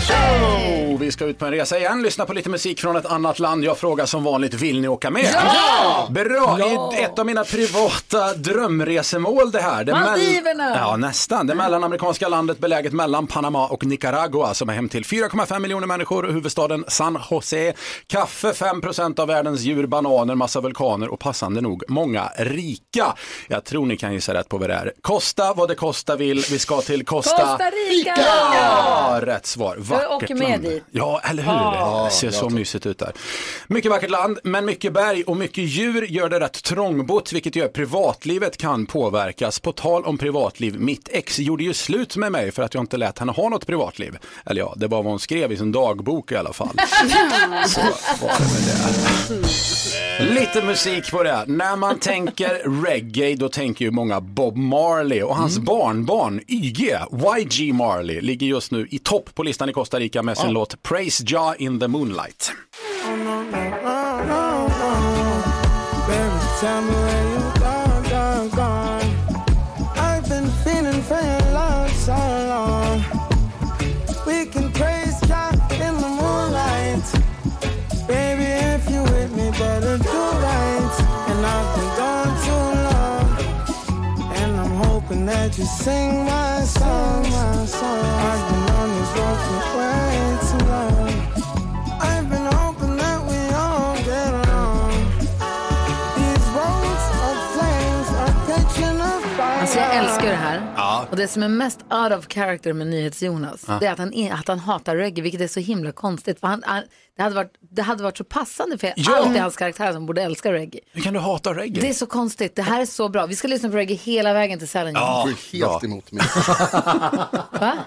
Oh, vi ska ut på en resa igen, lyssna på lite musik från ett annat land. Jag frågar som vanligt, vill ni åka med?
Ja!
Bra!
Ja!
I ett av mina privata drömresemål det här. Det mell-
Maldiverna!
Ja, nästan. Det mellanamerikanska landet beläget mellan Panama och Nicaragua som är hem till 4,5 miljoner människor och huvudstaden San Jose. Kaffe, 5% av världens djur, bananer, massa vulkaner och passande nog många rika. Jag tror ni kan gissa rätt på vad det är. Kosta vad det kosta vill. Vi ska till Costa,
Costa Rica!
Ja, rätt svar. Vackert
åker med
land.
dit.
Ja, eller hur?
Ja.
Det ser så mysigt ut där. Mycket vackert land, men mycket berg och mycket djur gör det rätt trångbott, vilket gör att privatlivet kan påverkas. På tal om privatliv, mitt ex gjorde ju slut med mig för att jag inte lät henne ha något privatliv. Eller ja, det var vad hon skrev i sin dagbok i alla fall. Lite musik på det. här. När man tänker reggae då tänker ju många Bob Marley och
Mm.
hans barnbarn YG, YG Marley, ligger just nu i topp på listan i Costa Rica med sin låt Praise Jah in the Moonlight.
That you sing my song, my song. I've been on this road for way too long. I've been hoping that we all get along. These roads of flames are catching a fire.
Alltså jag älskar ju det här.
Ja.
Och det som är mest out of character med NyhetsJonas,
Ja.
det är att han, är- att han hatar reggae, vilket är så himla konstigt. För han, han, det, hade varit, det hade varit så passande för
Ja.
allt i hans karaktär som borde älska reggae.
Hur kan du hata reggae?
Det är så konstigt, det här är så bra. Vi ska lyssna på reggae hela vägen till Sälen.
Du
Jonas.
är helt emot mig.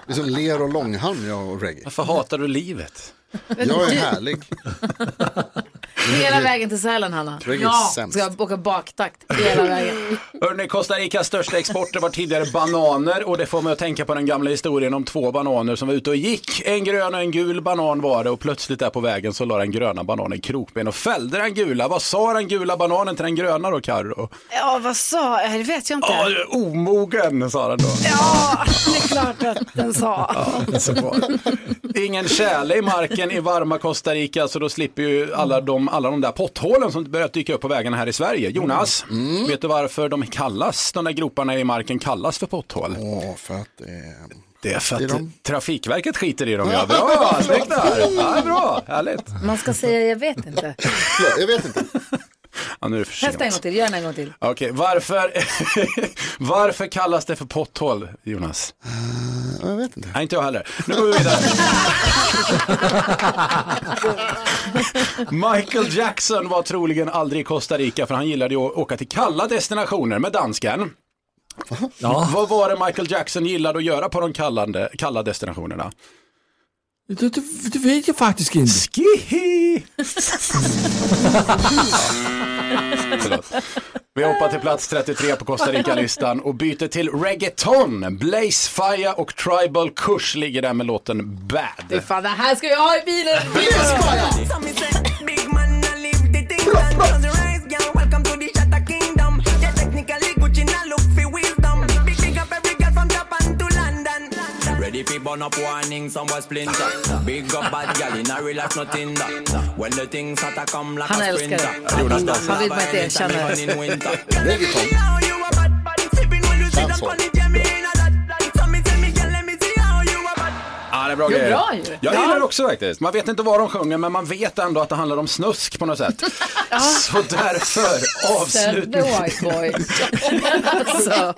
Det är som ler och långhalm jag och reggae.
Varför hatar du livet?
Jag är härlig.
Hela vägen till Sälen, Hanna.
Reggae är sämst.
Ska åka baktakt hela vägen. [LAUGHS]
Hörrni, Costa Ricas största exporter var tidigare bananer och det får mig att tänka på den gamla historien om två bananer som var ute och gick. En grön och en gul banan var det och plötsligt där på vägen så la den gröna bananen krokben och fällde den gula. Vad sa den gula bananen till den gröna då, Carro?
Ja, vad sa jag? Det vet jag inte.
Ja, du är omogen, sa den då.
Ja, det är klart att den sa.
Ja, [LAUGHS] så bra. Ingen tjäle i marken i varma Costa Rica så då slipper ju alla de alla de där potthålen som börjat dyka upp på vägarna här i Sverige. Jonas, vet du varför de kallas, de där groparna i marken kallas för potthål?
Åh, för att eh, det
Det är för
i
att
dem.
Trafikverket skiter i dem ja. Bra, snyggt [LAUGHS] där! Ja, bra, härligt.
Man ska säga jag vet
[LAUGHS]
inte.
Jag vet inte. Ja, nu är det för sent.
Testa en gång till, gör den en gång till.
Okej, varför, [LAUGHS] varför kallas det för potthål, Jonas?
jag vet inte.
Nej, inte jag heller. Nu går vi vidare. Michael Jackson var troligen aldrig i Costa Rica för han gillade ju att åka till kalla destinationer med dansken. Vad var det Michael Jackson gillade att göra på de kallande, kalla destinationerna?
Det, det, det vet jag faktiskt inte.
Skihi! Förlåt. Vi hoppar till plats 33 på Costa Rica-listan och byter till reggaeton. Blaze Fire och Tribal Kush ligger där med låten Bad.
Fy fan, det här ska jag ha i bilen!
Ready fi burn up warning, some boy splinter. Big up bad gal in a relax no tinder. When the things hotter come like
Han
a
älskar
sprinter.
det.
Jonas
Han vill bara inte erkänna det.
Anytime, even in winter.
Ja, det är bra
Det är
grejer.
bra ju.
Jag
Ja.
gillar det också faktiskt. Man vet inte vad de sjunger men man vet ändå att det handlar om snusk på något sätt. Så därför
Södra
avslutning. [LAUGHS]
White [LAUGHS] Boy. alltså.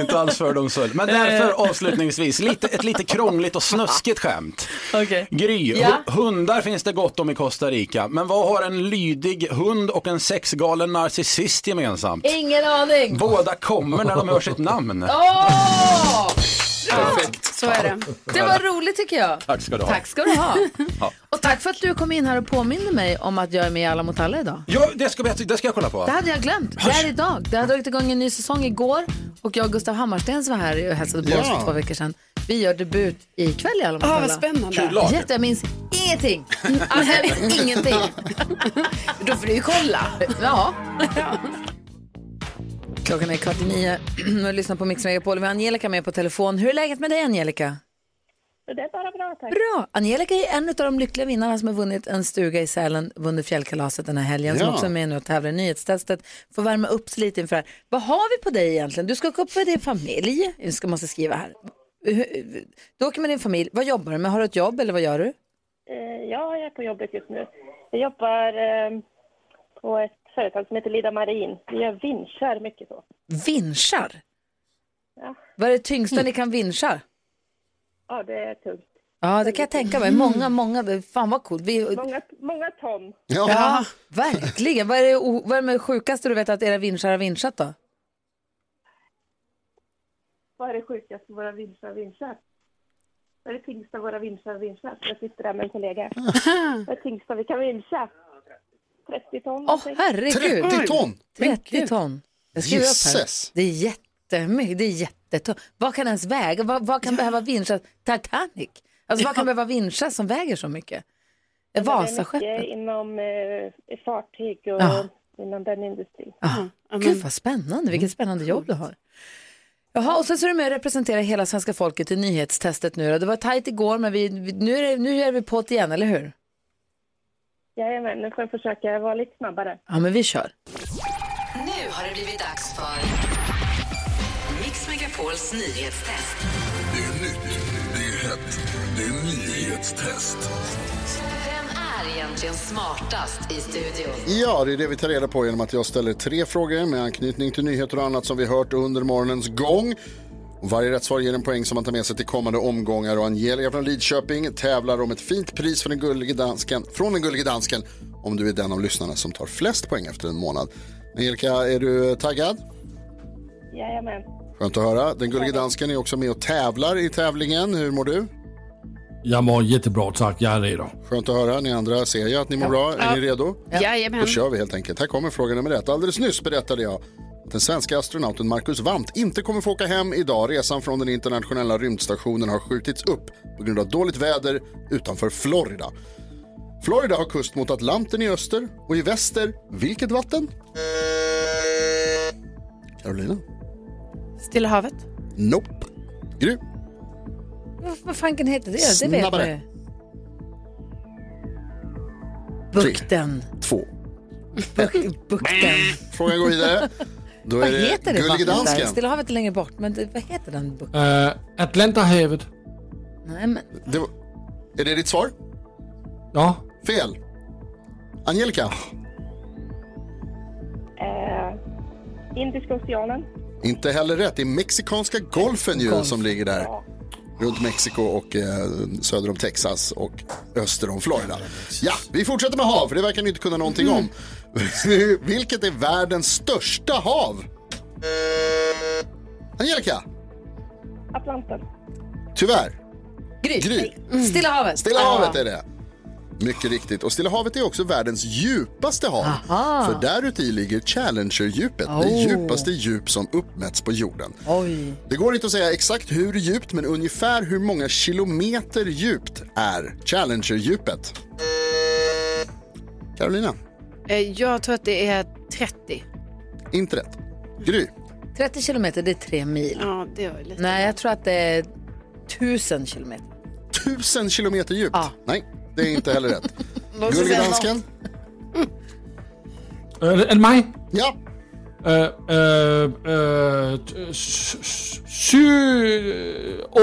inte alls för dem så. Men därför avslutningsvis lite, ett lite krångligt och snuskigt skämt.
Okej.
Gry,
Ja.
hu- hundar finns det gott om i Costa Rica. Men vad har en lydig hund och en sexgalen narcissist gemensamt?
Ingen aning.
Båda kommer när de hör sitt namn.
Åh!
Perfekt.
Så är det.
Ah,
Det var roligt tycker jag.
Tack ska du ha.
Tack ska du ha.
Ja.
Och tack för att du kom in här och påminner mig om att jag är med i Alla mot alla idag.
Ja, det ska, vi- det ska jag kolla på.
Det hade jag glömt. Det här är idag. Det har dragit igång en ny säsong igår och jag och Gustav Hammarsten var här och hälsade på
Ja.
oss för två veckor sedan. Vi gör debut ikväll i Alla mot
Ah,
alla.
vad spännande. Kul lag.
Jätte, jag minns [LAUGHS] ingenting. Alltså, jag vet ingenting. Då får du ju kolla. Ja. Klockan är kvart i nio [CLEARS THROAT] och du lyssnar på Mix Megapol. Vi har Angelica med på telefon. Hur är läget med dig Angelica?
Det är bara bra, tack.
Bra! Angelica är en av de lyckliga vinnarna som har vunnit en stuga i Sälen under fjällkalaset den här helgen. Som
Ja.
också är med nu och tävlar i nyhetstestet. Får värma upp sig lite inför det här. Vad har vi på dig egentligen? Du ska åka upp med din familj. Du ska, måste skriva här. Hur- Du åker med din familj. Vad jobbar du med? Har du ett jobb eller vad gör du?
Eh, Ja, jag är på jobbet just nu. Jag jobbar eh, på ett företag som heter Lida Marin. Vi gör vinschar mycket så.
Vinschar?
Ja,
Vad är det tyngsta ni kan vinscha?
ja det är tungt.
Ja, det kan jag tänka mig. Många, många. det- Fan vad coolt. Vi...
Många, många ton.
Ja. verkligen. Vad är, det, o- vad är det sjukaste du vet att era vinschar har vinschat då?
Vad är det sjukaste våra vinschar vinschar? Vad är det tyngsta våra vinschar vinschar? Jag sitter där med en kollega. Vad är det tyngsta vi kan vinscha? 30 ton.
Åh, herregud.
30 ton?
30 ton. Jag skriver upp här.
Jesus.
Det är jättemycket. Det är jättetungt. Vad kan ens väga? Vad, vad kan behöva vinschas? Titanic? Alltså vad kan behöva vinschas som väger så mycket?
Det är
Vasaskeppet?
mycket inom eh, fartyg och
Ja.
inom den industrin. Mm.
Ah, Gud vad spännande. Vilket spännande jobb du har. Jaha, och sen så är du med och representerar hela svenska folket i nyhetstestet nu då. Det var tajt igår men vi, vi, nu, är det, nu gör vi på det igen, eller hur?
Jajamän, nu får jag försöka vara lite snabbare.
Ja, men vi kör.
Nu har det blivit dags för Mix Megapols nyhetstest.
Det är nytt, det är hett, det är nyhetstest.
Vem är egentligen smartast i studion?
Ja, det är det vi tar reda på genom att jag ställer tre frågor med anknytning till nyheter och annat som vi hört under morgonens gång. Och Varje rätt svar ger en poäng som man tar med sig till kommande omgångar och Angelica från Lidköping tävlar om ett fint pris för den gullige dansken, från den gullige dansken om du är den av lyssnarna som tar flest poäng efter en månad. Angelica, är du taggad?
Jajamän.
Skönt att höra. Den gullige dansken är också med och tävlar i tävlingen. Hur mår du?
Jag mår jättebra tack, jag är redo.
Skönt att höra. Ni andra ser jag att ni mår bra. Är
Ja.
ni redo?
Ja. Jajamän.
Då kör vi helt enkelt. Här kommer fråga nummer ett. Alldeles nyss berättade jag att den svenska astronauten Marcus Wandt inte kommer få åka hem idag. Resan från den internationella rymdstationen har skjutits upp på grund av dåligt väder utanför Florida. Florida har kust mot Atlanten i öster och i väster vilket vatten? Carolina?
Stilla havet.
Nope. Gry?
Vad, vad fanken heter det? Det vet man ju.
Snabbare.
Bukten.
Två.
Buk- Bukten.
Frågan går
[LAUGHS]
vidare. Då
Vad
är det
heter det
Gullige
vattnet där?
dansken.
Stilla havet är längre bort, men det, vad heter den bukten?
Uh, Atlantahavet.
Nej, men
Det var... Är det ditt svar?
Ja.
Fel. Angelica.
Eh, Indiska oceanen.
Inte heller rätt. Det är Mexikanska golfen ju
Golf.
som ligger där. Runt Mexiko och eh, söder om Texas och öster om Florida. Ja, vi fortsätter med hav, för det verkar ni inte kunna någonting
Mm.
om. [LAUGHS] Vilket är världens största hav? Angelica,
Atlanten.
tyvärr.
Gry.
Gry. Mm.
Stilla havet.
Stilla havet är det. Mycket riktigt. Och Stilla havet är också världens djupaste hav.
Aha.
För däruti ligger Challenger-djupet, det
Oh.
djupaste djup som uppmätts på jorden.
Oj.
Det går inte att säga exakt hur djupt, men ungefär hur många kilometer djupt är Challenger-djupet? Carolina,
Eh, Jag tror att det är 30.
inte rätt. Gry,
30 kilometer, det är tre mil.
Ja, det var ju lite.
Nej, jag tror att det är tusen
[LAUGHS]
kilometer.
tusen kilometer djupt. Nej, det är inte heller rätt.
[LAUGHS] Låt oss
Gullige
säga
dansken,
Uh, är det mig?
Ja.
Uh, uh,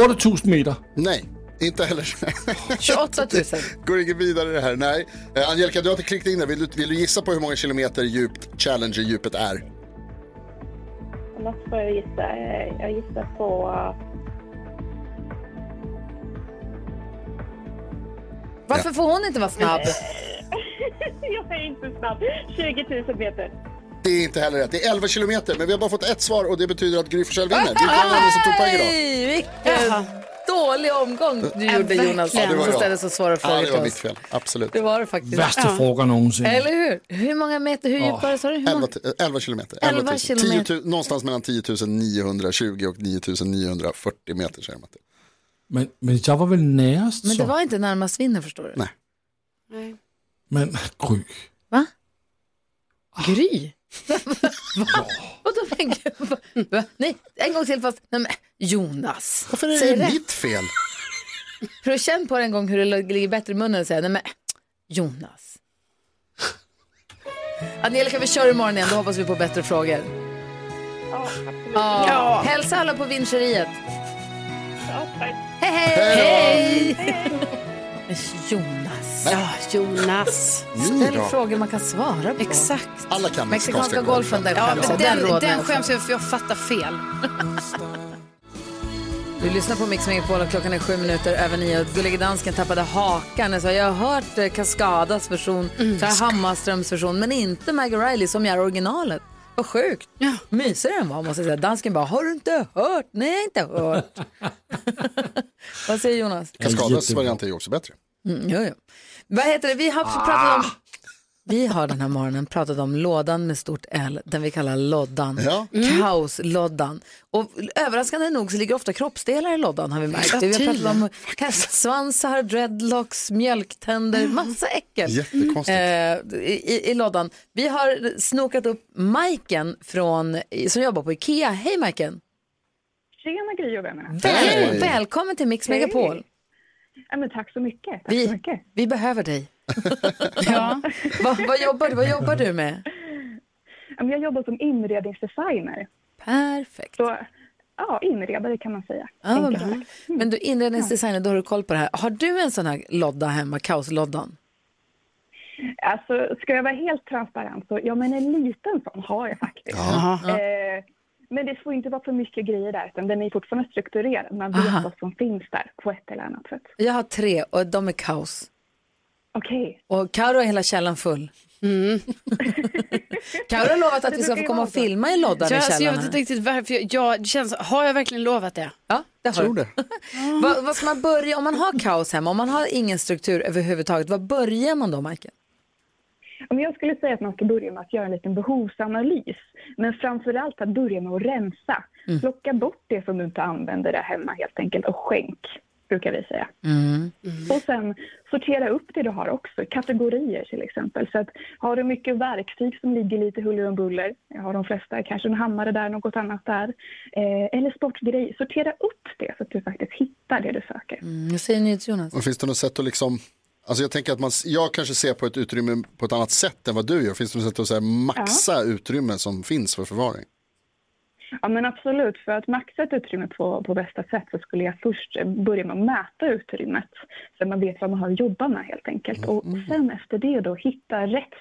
uh, 8000 meter.
Nej, inte heller. [LAUGHS]
28 000.
Går inget vidare det här, nej. Eh, Angelica, du har inte klickat in det. Vill du, vill du gissa på hur många kilometer djupt Challenger-djupet är?
Annars får jag gissa. eh, Jag gissar på... eh,
Varför får hon inte vara snabb?
jag är inte snabb. 20 000 meter.
Det är inte heller rätt. Det är 11 kilometer, men vi har bara fått ett svar och det betyder att Gry Forssell vinner. Du är den enda som tog poäng idag.
Nej, vilken dålig omgång du gjorde Jonas.
Ja, det var
som
jag.
ställde så svåra frågor
Ja, det var
till
mitt
oss.
fel. Absolut.
Det var det faktiskt.
Värsta frågan någonsin.
Eller hur? Hur många meter, hur djupt var det sa du? Hur många-
11, t- 11 kilometer.
11
000.
kilometer.
10 000 någonstans mellan 10 920 och 9 940 meter säger man. att det är.
Men, men jag var väl närast
Men
så.
det var inte närmast vinner förstår du.
Nej.
Nej.
Men Gry.
Va? Gry? Vadå men gud? [LAUGHS] va- va? Nej, en gång till fast, nej men Jonas.
Varför är
Säg
det
rätt.
mitt fel?
Prova känn på det en gång hur det ligger bättre i munnen och säga, nej men Jonas. Angelica, vi kör imorgon igen, då hoppas vi på bättre frågor. Ja,
Ja.
Hälsa alla på vincheriet. Hej,
Hej
hej! Jonas. Ja, Jonas.
Ni
Ställ
då?
frågor man kan svara på. Exakt.
Alla kan
Mexikanska golfen, den
ja,
skäms
men
jag. Den
Den,
rådnar
den
jag för.
skäms jag för jag fattar fel.
Du lyssnar på Mix Megapol och klockan är sju minuter över nio. Gullige dansken tappade hakan. Jag sa, jag har hört eh, Cascadas version, så här Hammarströms version, men inte Maggie Riley som är originalet. Vad sjukt. Mysigare den var måste jag säga. Dansken bara, har du inte hört? Nej, jag har inte hört. [LAUGHS] Vad säger Jonas?
Kaskadas variant är ju också bättre.
Mm, jo, jo. Vad heter det? Vi har
Ah.
pratat om... Vi har den här morgonen pratat om lådan med stort L, den vi kallar loddan. Mm.
Ja.
Mm.
Kaosloddan. Och överraskande nog så ligger ofta kroppsdelar i loddan har vi märkt.
Ja,
vi har pratat
tydligen.
om hästsvansar, dreadlocks, mjölktänder, massa äckel.
Mm. Jättekonstigt.
Eh, i, i- I loddan. Vi har snokat upp Majken från, som jobbar på Ikea. Hej Majken!
Tjena Gry och vännerna.
Väl, välkommen till Mix
Hej.
Megapol.
Ja, men tack så mycket. Tack så
Vi,
mycket.
vi behöver
[LAUGHS]
dig. [LAUGHS] Vad, vad, jobbar, du- vad jobbar du med?
Ja, men Jag jobbar som inredningsdesigner.
Perfekt.
Så, ja, inredare kan man säga. Mm.
Ja, vad
Enkelt
bra.
sagt.
Men du inredningsdesigner, då har du koll på det här. Har du en sån här lodda hemma, kaosloddan?
Alltså, ska jag vara helt transparent så, ja men en liten sån har jag faktiskt.
Ja.
Eh, men det får inte vara för mycket grejer där, utan den är fortfarande strukturerad. Man vet
Aha.
vad som finns där på ett eller annat sätt.
Jag har tre och de är kaos.
Okej.
Och Karo har hela källaren full.
[LAUGHS]
Mm. Karo har lovat att vi ska få komma och filma i loddan
Ja,
i
alltså, jag
källaren.
vet inte riktigt varför. Jag, jag, det känns, har jag verkligen lovat det?
Ja, det har Tror du. [LAUGHS] Vad, vad ska man börja, om man har kaos hemma, om man har ingen struktur överhuvudtaget, vad börjar man då, Michael?
Ja, men Jag skulle säga att man ska börja med att göra en liten behovsanalys. Men framförallt att börja med att rensa. Plocka bort det som du inte använder där hemma helt enkelt och skänk, brukar vi säga. Och sen sortera upp det du har också, kategorier till exempel. Så att har du mycket verktyg som ligger lite huller om buller, jag har de flesta, kanske en hammare där, något annat där, eh, eller sportgrejer, sortera upp det så att du faktiskt hittar det du söker.
Mm, vad säger ni till Jonas?
Och finns det något sätt att liksom Alltså jag tänker att man, jag kanske ser på ett utrymme på ett annat sätt än vad du gör. Finns det något sätt att så här maxa utrymme som finns för förvaring?
Ja, men absolut. För att maxa ett utrymme på, på bästa sätt så skulle jag först eh, börja med att mäta utrymmet så att man vet vad man har att jobba med helt
Mm.
enkelt.
Mm.
Och sen efter det då hitta rätt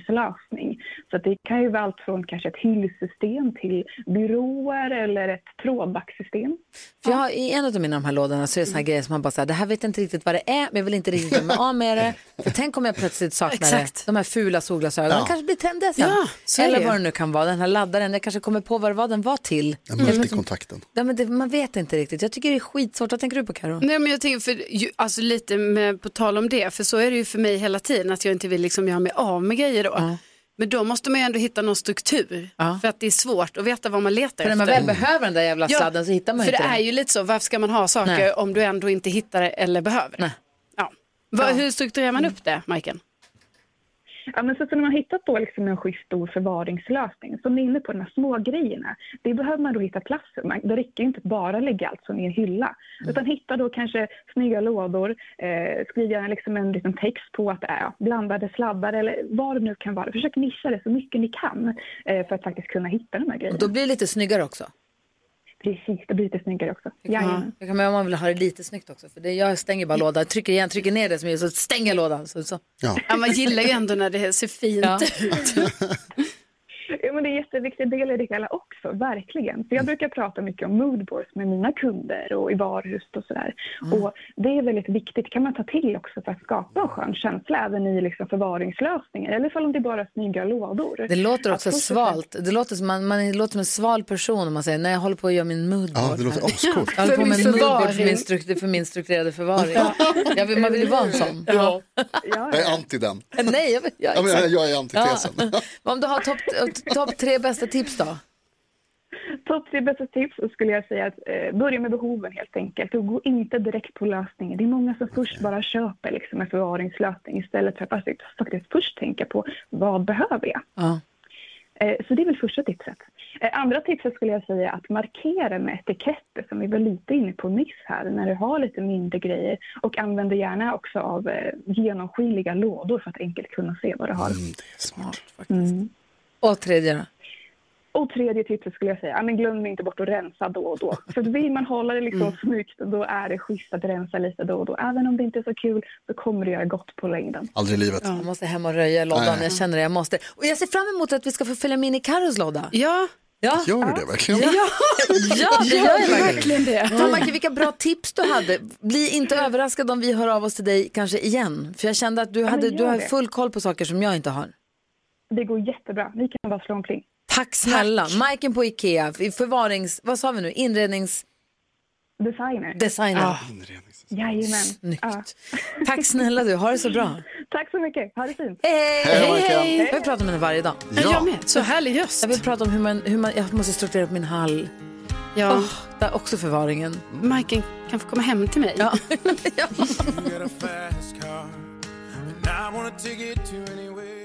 förvaringslösning. Så att det kan ju vara allt från kanske ett hyllsystem till byråer eller ett trådbacksystem.
För jag har, I en av mina de här lådorna så är det såna här grejer som man bara säger, det här vet jag inte riktigt vad det är, men jag vill inte riktigt göra mig
[LAUGHS]
av med det. För tänk om jag plötsligt saknar det.
Exakt.
De här fula solglasögonen
Ja.
kanske blir tända sen.
Ja, så är det
Eller
ju.
vad det nu kan vara, den här laddaren, jag kanske kommer på vad det var den var till. Eller något som-
kontakten.
Ja, men det, man vet inte riktigt. Jag tycker det är skitsvårt. Vad tänker du på Karo?
Nej men jag tänker, för, ju, alltså lite med, på tal om det, för så är det ju för mig hela tiden att jag inte vill liksom göra mig av med grejer då. Men då måste man ju ändå hitta någon struktur, för att det är svårt att veta vad man letar
För när
efter.
man väl behöver den där jävla
Ja,
sladden så hittar man
För
ju inte
det är
den.
ju lite så, varför ska man ha saker
Nej.
om du ändå inte hittar det eller behöver det? Ja. Vad- Hur strukturerar man upp det, Majken?
Ja, men så, så när man har hittat då liksom en schysst stor förvaringslösning, som ni är inne på, de här små grejerna, det behöver man då hitta plats för. Man, det räcker ju inte att bara lägga allt som i en hylla,
Mm.
utan hitta då kanske snygga lådor, eh, skriva liksom en liten text på att det är blandade sladdar eller vad det nu kan vara. Försök nischa det så mycket ni kan eh, för att faktiskt kunna hitta de här grejerna.
Och då blir det lite snyggare också.
Precis, då blir det lite snyggare också.
Ja,
Jajamän.
jag kan men om man vill ha det lite snyggt också. För det, jag stänger bara lådan, trycker igen, trycker ner det som är så stänger jag lådan. Så, så.
Ja.
Ja, man gillar ju ändå när det ser fint
Ja.
ut.
Ja, men det är en jätteviktig del i det hela också, verkligen. För jag brukar prata mycket om moodboards med mina kunder och i varuhus och sådär. Och det är väldigt viktigt, kan man ta till också för att skapa en skön känsla även i liksom förvaringslösningar, eller ifall om det bara är snygga lådor.
Det låter också
Att först och
svalt. Det låter som, man, man låter som en sval person om man säger nej jag håller på att göra min moodboard.
Ja, det låter
här."
ascoolt.
Jag håller
För
på med
min
en moodboard för
förvaring.
min, struktur, för min strukturerade förvaring.
[LAUGHS]
Jag vill, man vill ju vara en sån. Ja.
Jag är anti den.
[LAUGHS] Nej, jag, vill-
Ja, men jag-
exakt.
jag är antitesen.
Ja. [LAUGHS] Men Om du har topp top tre bästa tips då?
Topp tre bästa tips så skulle jag säga att eh, börja med behoven helt enkelt och gå inte direkt på lösningen. Det är många som först bara köper liksom, en förvaringslösning istället för att faktiskt- faktiskt först tänka på vad behöver jag?
Ja.
Eh, Så det är väl första tipset. Eh, Andra tipset skulle jag säga är att markera med etiketter som vi var lite inne på nyss här när du har lite mindre grejer och använder gärna också av eh, genomskinliga lådor för att enkelt kunna se vad du har.
Mm, smart
faktiskt. Mm.
Och tredje då?
Och tredje tipset skulle jag säga, ja, men glöm inte bort att rensa då och [LAUGHS] då. För vill man hålla det liksom snyggt då är det schysst att rensa lite då och då. Även om det inte är så kul så kommer det göra gott på längden.
Aldrig i livet.
Ja, jag måste hem och röja lådan,
Nej.
jag känner det, jag måste. Och jag ser fram emot att vi ska få följa med in i Carros låda.
Ja.
Ja.
Gör du det verkligen?
Ja, [LAUGHS] ja det gör jag verkligen.
verkligen det.
Fan, Macke, vilka bra tips du hade. Bli inte överraskad om vi hör av oss till dig kanske igen. För jag kände att du,
men
hade, du
gör
har
det.
full koll på saker som jag inte har.
Det går jättebra, ni kan bara slå en pling.
Tack snälla. Majken på Ikea, i förvarings... Vad sa vi nu? Inrednings...
Designer.
Designer.
Ja. Jajamän. Ah.
Snyggt. [LAUGHS] Tack snälla du, ha det så bra.
Tack så mycket, ha det fint.
Hej!
Hej, Monica.
Jag vill prata om henne varje dag.
Ja. Jag med.
Så härlig röst. Jag vill prata om hur man, hur man jag måste strukturera upp min hall.
Ja.
Åh, där också förvaringen.
Majken kan få komma hem till mig. [LAUGHS]
Ja.
Got a fast car, and I want a ticket to anywhere.